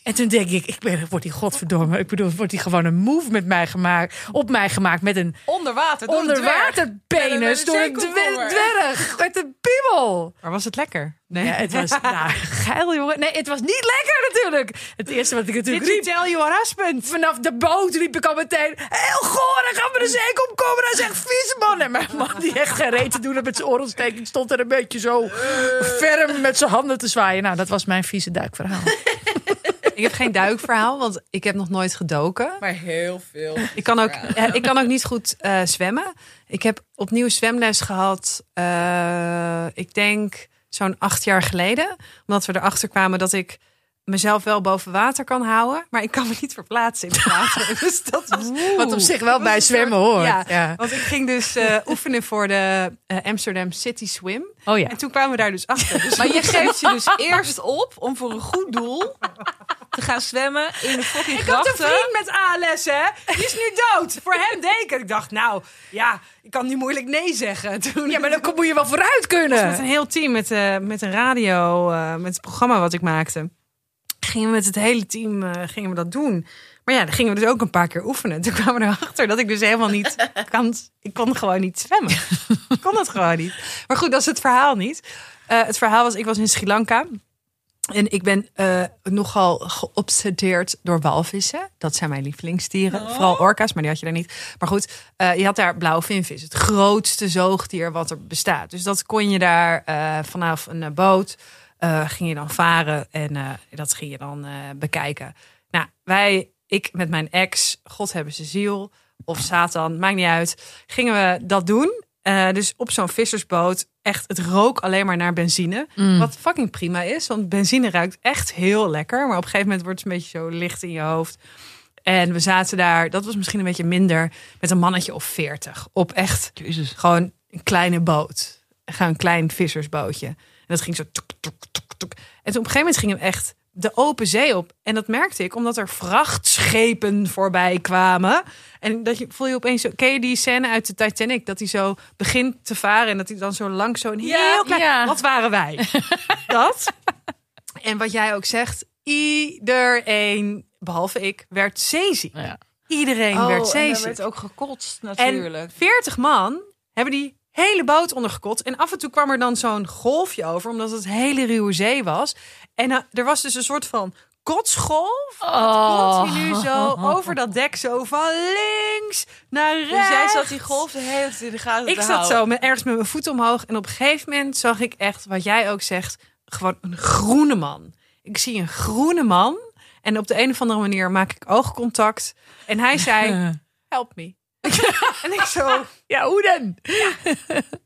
En toen denk ik, ik ben, wordt die godverdomme, ik bedoel, wordt die gewoon een move met mij gemaakt, op mij gemaakt met een
Onder water. door een dwerg.
onderwaterpenis
Met een-
door een
met een
dwer-
zeekomkommer.
dwerg met een piemel.
Maar was het lekker? Nee.
Ja, het
<laughs>
was nou, geil jongen. Nee, het was niet lekker natuurlijk. Het eerste wat ik natuurlijk riep,
tell your husband?
vanaf de boot riep ik al meteen, heel goor, dan gaan we de zeekom komen, hij zegt vies man. En mijn man die echt geen reet te doen had met zijn oorontsteking stond er een beetje zo ferm met zijn handen te zwaaien. Nou, dat was mijn vieze duikverhaal.
Ik heb geen duikverhaal, want ik heb nog nooit gedoken.
Maar heel veel.
Ik kan ook, eh, ik kan ook niet goed eh, zwemmen. Ik heb opnieuw zwemles gehad, eh, ik denk zo'n acht jaar geleden. Omdat we erachter kwamen dat ik mezelf wel boven water kan houden. Maar ik kan me niet verplaatsen in het water. <laughs> Dus dat was,
Wat op zich
dat
wel
was
bij
een
zwemmen
soort-
hoort.
Ja,
Ja.
Want ik ging dus eh, oefenen voor de eh, Amsterdam City Swim.
Oh ja.
En toen kwamen we daar dus achter. Dus <laughs>
Maar je geeft je dus eerst op om voor een goed doel te gaan zwemmen in de fucking
Ik had een
grachten.
vriend met ALS, hè? Die is nu dood. Voor hem deken. Ik dacht, nou, ja, ik kan nu moeilijk nee zeggen. <laughs> Toen
Ja, maar dan kom- moet je wel vooruit
met een
kunnen.
heel team, met, eh, met een radio, eh, met het programma wat ik maakte. Gingen we met het hele team eh, gingen we dat doen. Maar ja, dan gingen we dus ook een paar keer oefenen. <laughs> Toen kwamen we erachter dat ik dus helemaal <laughs> niet kan. Ik kon gewoon niet zwemmen. Ik kon dat gewoon niet. Maar goed, dat is het verhaal niet. Eh, het verhaal was, ik was in Sri Lanka. En ik ben eh, nogal geobsedeerd door walvissen. Dat zijn mijn lievelingsdieren. Vooral orka's, maar die had je daar niet. Maar goed, eh, je had daar blauwe vinvis. Het grootste zoogdier wat er bestaat. Dus dat kon je daar eh, vanaf een eh, boot... eh, ging je dan varen en eh, dat ging je dan eh, bekijken. Nou, wij, ik met mijn ex, God hebben ze ziel... of Satan, maakt niet uit. Gingen we dat doen. Eh, dus op zo'n vissersboot, echt, het rook alleen maar naar benzine. Wat fucking prima is, want benzine ruikt echt heel lekker. Maar op een gegeven moment wordt het een beetje zo licht in je hoofd. En we zaten daar, dat was misschien een beetje minder, met een mannetje of veertig. Op echt gewoon een kleine boot. Gewoon een klein vissersbootje. En dat ging zo tuk, tuk, tuk, tuk. En toen op een gegeven moment ging hem echt de open zee op. En dat merkte ik omdat er vrachtschepen voorbij kwamen. En dat je, voel je opeens zo... Ken je die scène uit de Titanic? Dat hij zo begint te varen en dat hij dan zo lang zo'n
Ja,
heel klein...
Ah.
ja.
Wat waren
<laughs>
wij? dat. En wat jij ook zegt, iedereen, behalve ik, werd zeeziek.
Ja.
Iedereen werd
Oh, en er
zeeziek.
werd ook gekotst
En
natuurlijk.
40 man hebben die hele boot ondergekot. En af en toe kwam er dan zo'n golfje over, omdat het hele ruwe zee was. En eh, er was dus een soort van kotsgolf.
Oh.
Continu zo over dat dek, zo van links naar rechts.
dus jij zat die golf de hele tijd in de gaten
Ik
te
zat
houden.
zo met, ergens met mijn voet omhoog. En op een gegeven moment zag ik echt, wat jij ook zegt, gewoon een groene man. Ik zie een groene man. En op de een of andere manier maak ik oogcontact. En hij zei, help me. <laughs> en ik zo,
Ja, hoe dan?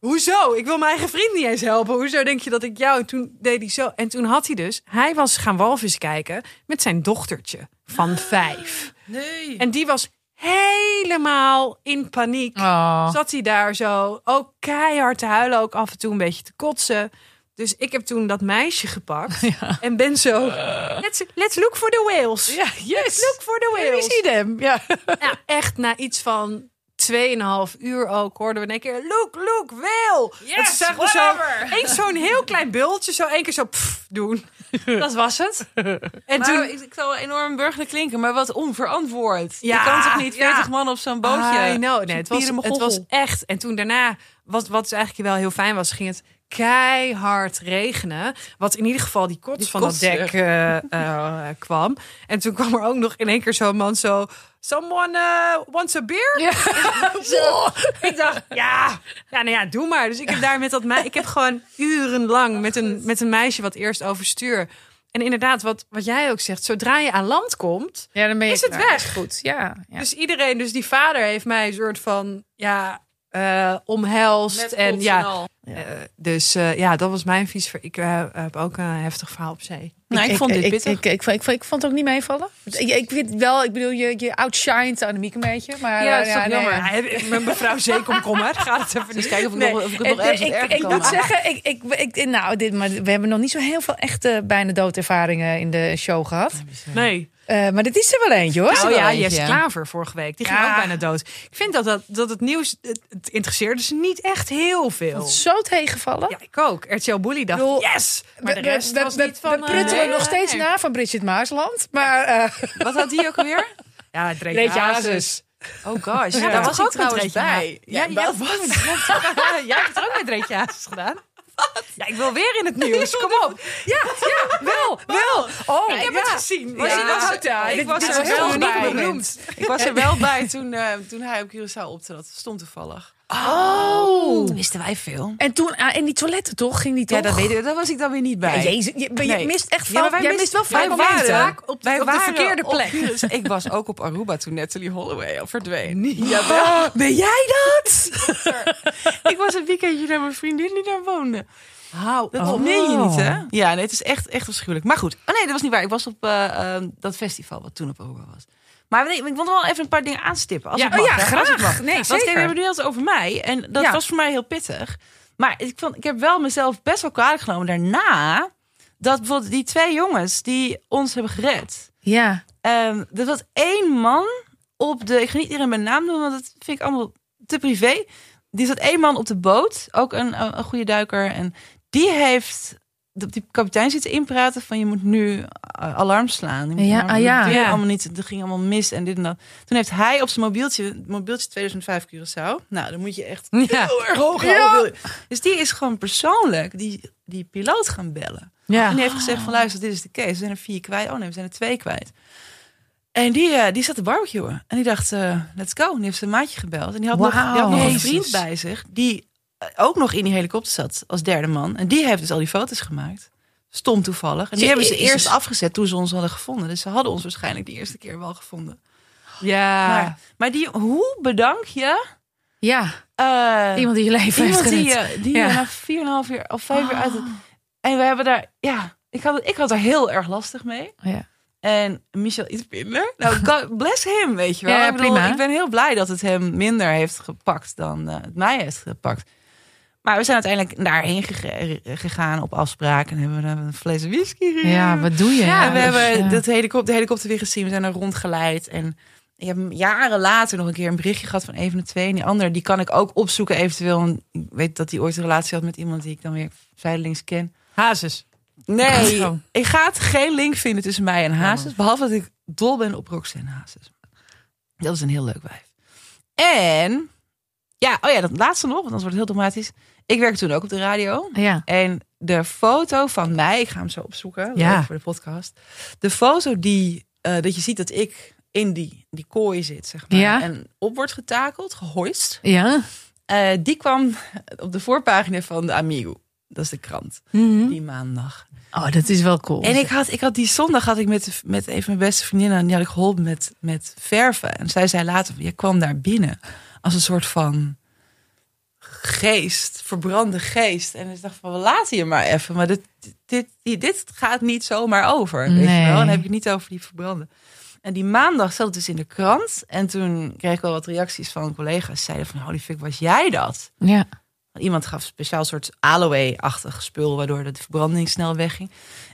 hoezo? Ik wil mijn eigen vriend niet eens helpen. Hoezo denk je dat ik jou... En toen deed hij zo. En toen had hij dus... Hij was gaan walvis kijken met zijn dochtertje van vijf.
Nee.
En die was helemaal in paniek
Oh.
zat hij daar zo ook keihard te huilen, ook af en toe een beetje te kotsen. Dus ik heb toen dat meisje gepakt en ben zo. Let's, let's look for the whales.
Ja, yes.
Look for the
Where
whales.
is he them? Ja.
<laughs> Nou, echt na iets van 2,5 uur ook hoorden we in één keer... Look, look, wel! dat ze zagen we zo eens zo'n heel klein bultje zo één keer zo pff, doen. Dat was het. En
Maar
toen...
ik, ik zal enorm burgerlijk klinken, maar wat onverantwoord.
Ja,
je kan toch niet
ja.
40 man op zo'n bootje?
I know. Nee, het, was,
Pieren
het was
mogoffel.
echt... En toen daarna, wat, wat dus eigenlijk wel heel fijn was... ging het keihard regenen. Wat in ieder geval die kots
Die
van
kots,
dat dek eh, eh, kwam. En toen kwam er ook nog in één keer zo'n man zo... Someone eh, wants a beer? <laughs> Ik dacht, ja, ja, nou ja, doe maar. Dus ik heb daar met dat meisje, ik heb gewoon urenlang met een, met een meisje wat eerst overstuur. En inderdaad, wat, wat jij ook zegt, zodra je aan land komt,
Ja, dan ben je
is het
klaar.
weg.
Goed, ja. ja.
Dus iedereen, dus die vader heeft mij een soort van, ja, eh, omhelst.
Met
en
kots
ja,
al.
eh, dus eh, ja, dat was mijn vies. Ik eh, heb ook een heftig verhaal op zee.
Nou, ik, vond dit
ik,
pittig.
Ik, ik, vond- ik, vond- ik vond het ook niet meevallen. Ik, ik weet wel, ik bedoel, je, je outshined Annemiek een beetje. Maar,
Ja,
eh,
dat is toch
nee,
jammer.
ja.
Ja, mijn mevrouw Zeekomkommer, gaat het even
Dus
niet.
kijken of ik,
Nee,
nog, of ik het
en-
nog ergens
Eh, ik,
erger
ik
kan
moet
maken.
zeggen, ik, ik, ik, nou, dit, maar we hebben nog niet zo heel veel echte bijna doodervaringen in de show gehad.
Nee.
Eh, maar dit is er wel eentje hoor.
Oh
wel
ja,
eentje,
Jesse
ja.
Klaver vorige week. Die ging
Ja.
ook bijna dood. Ik vind dat, dat, dat het nieuws... Het, het interesseerde ze niet echt heel veel.
Zo tegenvallen.
Ja, ik ook. RTL Bully dacht,
bedoel,
yes! Maar de
We- we-
rest
we,
was
we-
niet van...
we
eh,
pruttelen
nee,
nog
nee,
steeds
nee.
na van Bridget Maasland. Maar eh
Wat had die ook alweer?
Ja, Dreek
Reet
Hazes.
Oh gosh,
Ja,
daar
dat
was
was
ik
ook met
trouwens
Reetje
bij.
Ja,
Ja,
jij
ja,
was het. <laughs> Jij hebt het ook met Dreek Hazes gedaan. Ja, ik wil weer in <laughs> het nieuws. Kom op. Ja, ja, <laughs> wel, wel.
oh,
Ik heb
ja.
het gezien. Was
Ja.
je dat ook daar?
Ik
Dit-
was
dit
er
was
wel
uniek
bij.
benoemd.
Ik was er <laughs> wel bij toen, eh, toen hij op Curaçao optrad. Stond toevallig.
Oh.
Wisten wij veel?
En toen ah, in die toiletten toch ging die toch?
Ja, dat weet ik, daar was ik dan weer niet bij.
Ja, jezus, je, maar je
Nee.
mist echt
Ja,
van.
maar wij
jij
mist-
mist wel
wij
van momenten.
waren-
vaak
op de- op de verkeerde plek.
ik was ook op Aruba toen Natalie Holloway al verdween. Jawel.
Oh,
ben jij dat? ik was een weekendje naar mijn vriendin die daar woonde.
Hou
Dat meen je niet, hè? Ja, nee, het is echt, echt afschuwelijk. Maar goed. Oh nee, dat was niet waar. Ik was op eh, eh, dat festival wat toen op Aruba was. Maar nee, ik wil nog wel even een paar dingen aanstippen. Als
Ja,
het mag,
oh ja,
hè,
graag.
Als het mag.
Nee,
Want
zeker.
kijk, we hebben het nu altijd over mij. En dat
Ja.
was voor mij heel pittig. Maar ik, vond, ik heb wel mezelf best wel kwalijk genomen daarna. Dat bijvoorbeeld die twee jongens die ons hebben gered.
Ja.
Ehm, er was één man op de. Ik ga niet iedereen mijn naam noemen, want dat vind ik allemaal te privé. Die zat één man op de boot, ook een, een, een goede duiker. En die heeft de- die kapitein zitten inpraten van je moet nu eh, alarm slaan. Je moet
Ja,
alarm-
ah,
dat
ja.
deed
Ja.
allemaal niet. Er ging allemaal mis en dit en dat. Toen heeft hij op zijn mobieltje, mobieltje 2005 Curaçao. Nou, dan moet je echt
<laughs> Ja.
heel erg hoog
Ja.
houden. Dus die is gewoon persoonlijk die, die piloot gaan bellen. En die heeft
Ah.
gezegd van luister, dit is de case. We zijn er vier kwijt. Oh nee, we zijn er twee kwijt. En die, eh, die zat te barbecuen. En die dacht, eh, let's go. En die heeft zijn maatje gebeld. En die had nog, die had
Wauw.
nog een
Jezus.
vriend bij zich. Die eh, ook nog in die helikopter zat als derde man. En die heeft dus al die foto's gemaakt. Stom toevallig. En die hebben ze
Jezus.
eerst afgezet toen ze ons hadden gevonden. Dus ze hadden ons waarschijnlijk de eerste keer wel gevonden.
Ah.
Ja.
Maar, maar die, hoe bedank je
Ja.
eh,
Iemand die je leven heeft
iemand die
gered.
je, die je
Ja.
na 4,5 uur of 5 uur uit het en we hebben daar, ja, ik had, ik had er heel erg lastig mee.
Oh Ja.
En Michel iets minder.
<laughs>
Nou, God bless him, weet je wel.
Ja,
ik, bedoel,
prima.
ik ben heel blij dat het hem minder heeft gepakt dan eh, het mij heeft gepakt. Maar we zijn uiteindelijk daarheen gege- eh, gegaan op afspraak. En hebben we een fles whisky gegeven.
ja, wat doe je?
en we
Ja, dus,
hebben
ja.
dat helikopter, de helikopter weer gezien. We zijn er rondgeleid. En ik heb hem jaren later nog een keer een berichtje gehad van een van de twee. En die ander, die kan ik ook opzoeken eventueel. Want ik weet dat hij ooit een relatie had met iemand die ik dan weer zijdelings ken.
Hazes. <laughs>
Nee,
Oh.
ik ga het geen link vinden tussen mij en Hazes. Behalve dat ik dol ben op Roxanne Hazes. Dat is een heel leuk wijf. En, ja, oh ja, dat laatste nog, want anders wordt het heel dramatisch. Ik werkte toen ook op de radio.
Ja.
En de foto van mij, ik ga hem zo opzoeken
Ja.
leuk voor de podcast. De foto die, eh, dat je ziet dat ik in die, die kooi zit, zeg maar.
Ja.
En op wordt getakeld, gehoist.
Ja.
eh, die kwam op de voorpagina van de Amigo. Dat is de krant, die maandag.
Oh, dat is wel cool.
Mhm. En ik had, ik had die zondag had ik met, met een van mijn beste vriendinnen, die had ik geholpen met, met verven. En zij zei later, je kwam daar binnen als een soort van geest, verbrande geest. En ik dacht van, we laten je maar even. Maar dit, dit, dit, dit gaat niet zomaar over, weet
Nee.
je wel. Dan heb ik het niet over die verbranden. En die maandag zat het dus in de krant. En toen kreeg ik wel wat reacties van collega's. Zeiden van, holy fuck, was jij dat?
Ja.
Iemand gaf een speciaal soort aloe-achtig spul, waardoor de verbranding snel wegging.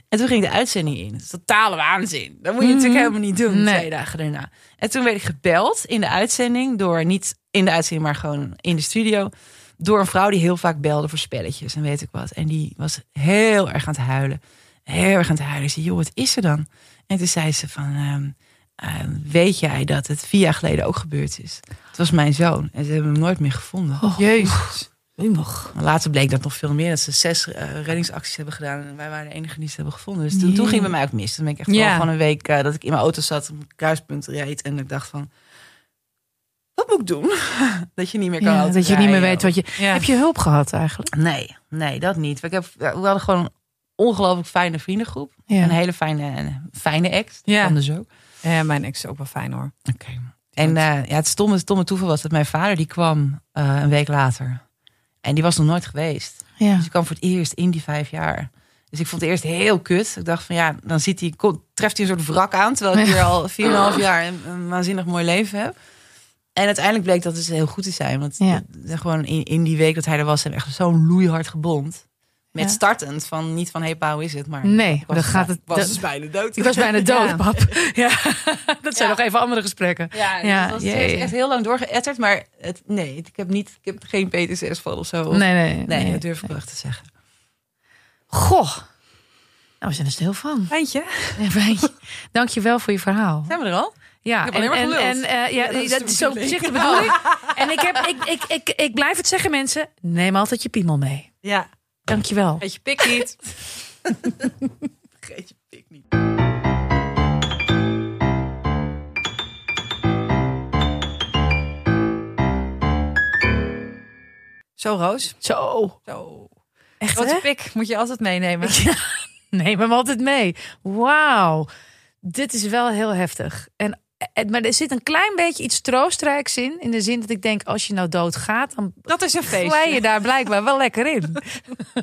En toen ging de uitzending in. Dat is totale waanzin. Dat moet je natuurlijk helemaal niet doen,
Nee.
twee dagen daarna. En toen werd ik gebeld in de uitzending, door niet in de uitzending, maar gewoon in de studio. Door een vrouw die heel vaak belde voor spelletjes en weet ik wat. En die was heel erg aan het huilen. Heel erg aan het huilen. Ik zei, joh, wat is er dan? En toen zei ze van, ehm, ehm, weet jij dat het vier jaar geleden ook gebeurd is? Het was mijn zoon en ze hebben hem nooit meer gevonden.
Jezus.
Maar Later bleek dat nog veel meer. Dat ze zes eh, reddingsacties hebben gedaan. En wij waren de enige die ze hebben gevonden. Dus toen, toen ging bij mij ook mis. Toen ben ik echt
Ja.
wel van een week eh, dat ik in mijn auto zat. Op het kruispunt reed. En ik dacht van, wat moet ik doen? <laughs> dat je niet meer kan
Ja, dat je niet meer
autorijden.
weet wat je.
Ja.
Heb je hulp gehad eigenlijk?
Nee, nee, dat niet. Ik heb, we hadden gewoon een ongelooflijk fijne vriendengroep.
Ja.
Een hele fijne, een fijne act.
Ja.
Anders ook.
Ja, mijn ex is ook wel fijn hoor.
Oké. En eh, ja, het stomme, het stomme toeval was dat mijn vader die kwam eh, een week later. En die was nog nooit geweest.
Ja.
Dus ik kwam voor het eerst in die vijf jaar. Dus ik vond het eerst heel kut. Ik dacht van ja, dan ziet hij, komt- treft hij een soort wrak aan. Terwijl ik hier al 4,5 jaar een, een waanzinnig mooi leven heb. En uiteindelijk bleek dat het heel goed te zijn. Want
Ja.
de- gewoon in, in die week dat hij er was, hebben we echt zo'n loeihard gebond. Met
Ja.
startend van niet van hey, pa, hoe is het? Maar
Nee,
was
dan gaat het.
was
dat-
dus bijna dood.
ik was
<laughs>
bijna dood,
Ja.
pap. <laughs> Ja. Dat zijn nog even andere gesprekken.
Ja,
Ja,
ja dat was
jee.
echt heel lang doorgeëtterd. Maar het, nee, ik heb, niet, ik heb geen PTSS van of zo.
Nee, nee, nee.
Nee, dat durf ik wel echt te zeggen.
Goh. Nou, we zijn er stil van.
Eindje?
Dank je wel voor je verhaal.
Zijn we er al?
Ja,
Ik heb alleen
en,
maar
en,
geluld.
en, eh, ja,
dat is
dat is zo op
natuurlijk
zich de bedoeling.
<laughs>
En ik, heb, ik, ik, ik, ik blijf het zeggen, mensen. Neem altijd je piemel mee.
Ja.
Dank je wel.
Beetje pik
<laughs>
niet.
Geet je pik niet.
Zo, Roos.
Zo.
Zo.
Echt,
Grote
hè?
pik moet je altijd meenemen.
Neem hem altijd mee. Wauw. Dit is wel heel heftig. En, eh, maar er zit een klein beetje iets troostrijks in. In de zin dat ik denk, als je nou doodgaat, dan
Dat is een feest.
glij je daar blijkbaar wel lekker in.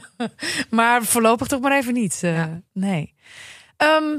<laughs> maar voorlopig toch maar even niet. eh,
Ja.
Nee. Ehm,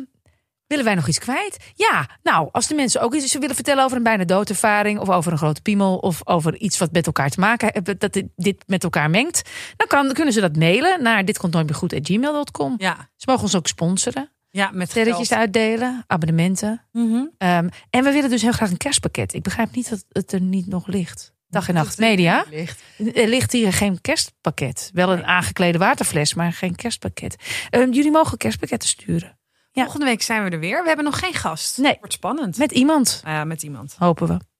willen wij nog iets kwijt? Ja, nou, als de mensen ook iets willen vertellen over een bijna doodervaring... of over een grote piemel of over iets wat met elkaar te maken heeft... dat dit- dit met elkaar mengt... dan kan, kunnen ze dat mailen naar ditkontnooitmeergoed.gmail.com.
Ja.
Ze mogen ons ook sponsoren,
Ja, met
sterretjes
geld.
uitdelen, abonnementen.
Mhm.
Ehm, en we willen dus heel graag een kerstpakket. Ik begrijp niet dat het er niet nog ligt. Dag en nacht media.
Licht.
Er ligt hier geen kerstpakket. Wel een aangeklede waterfles, maar geen kerstpakket. Ehm, jullie mogen kerstpakketten sturen. Ja.
Volgende week zijn we er weer. We hebben nog geen gast.
Nee.
Wordt spannend.
Met iemand,
Nou ja, met iemand.
hopen we.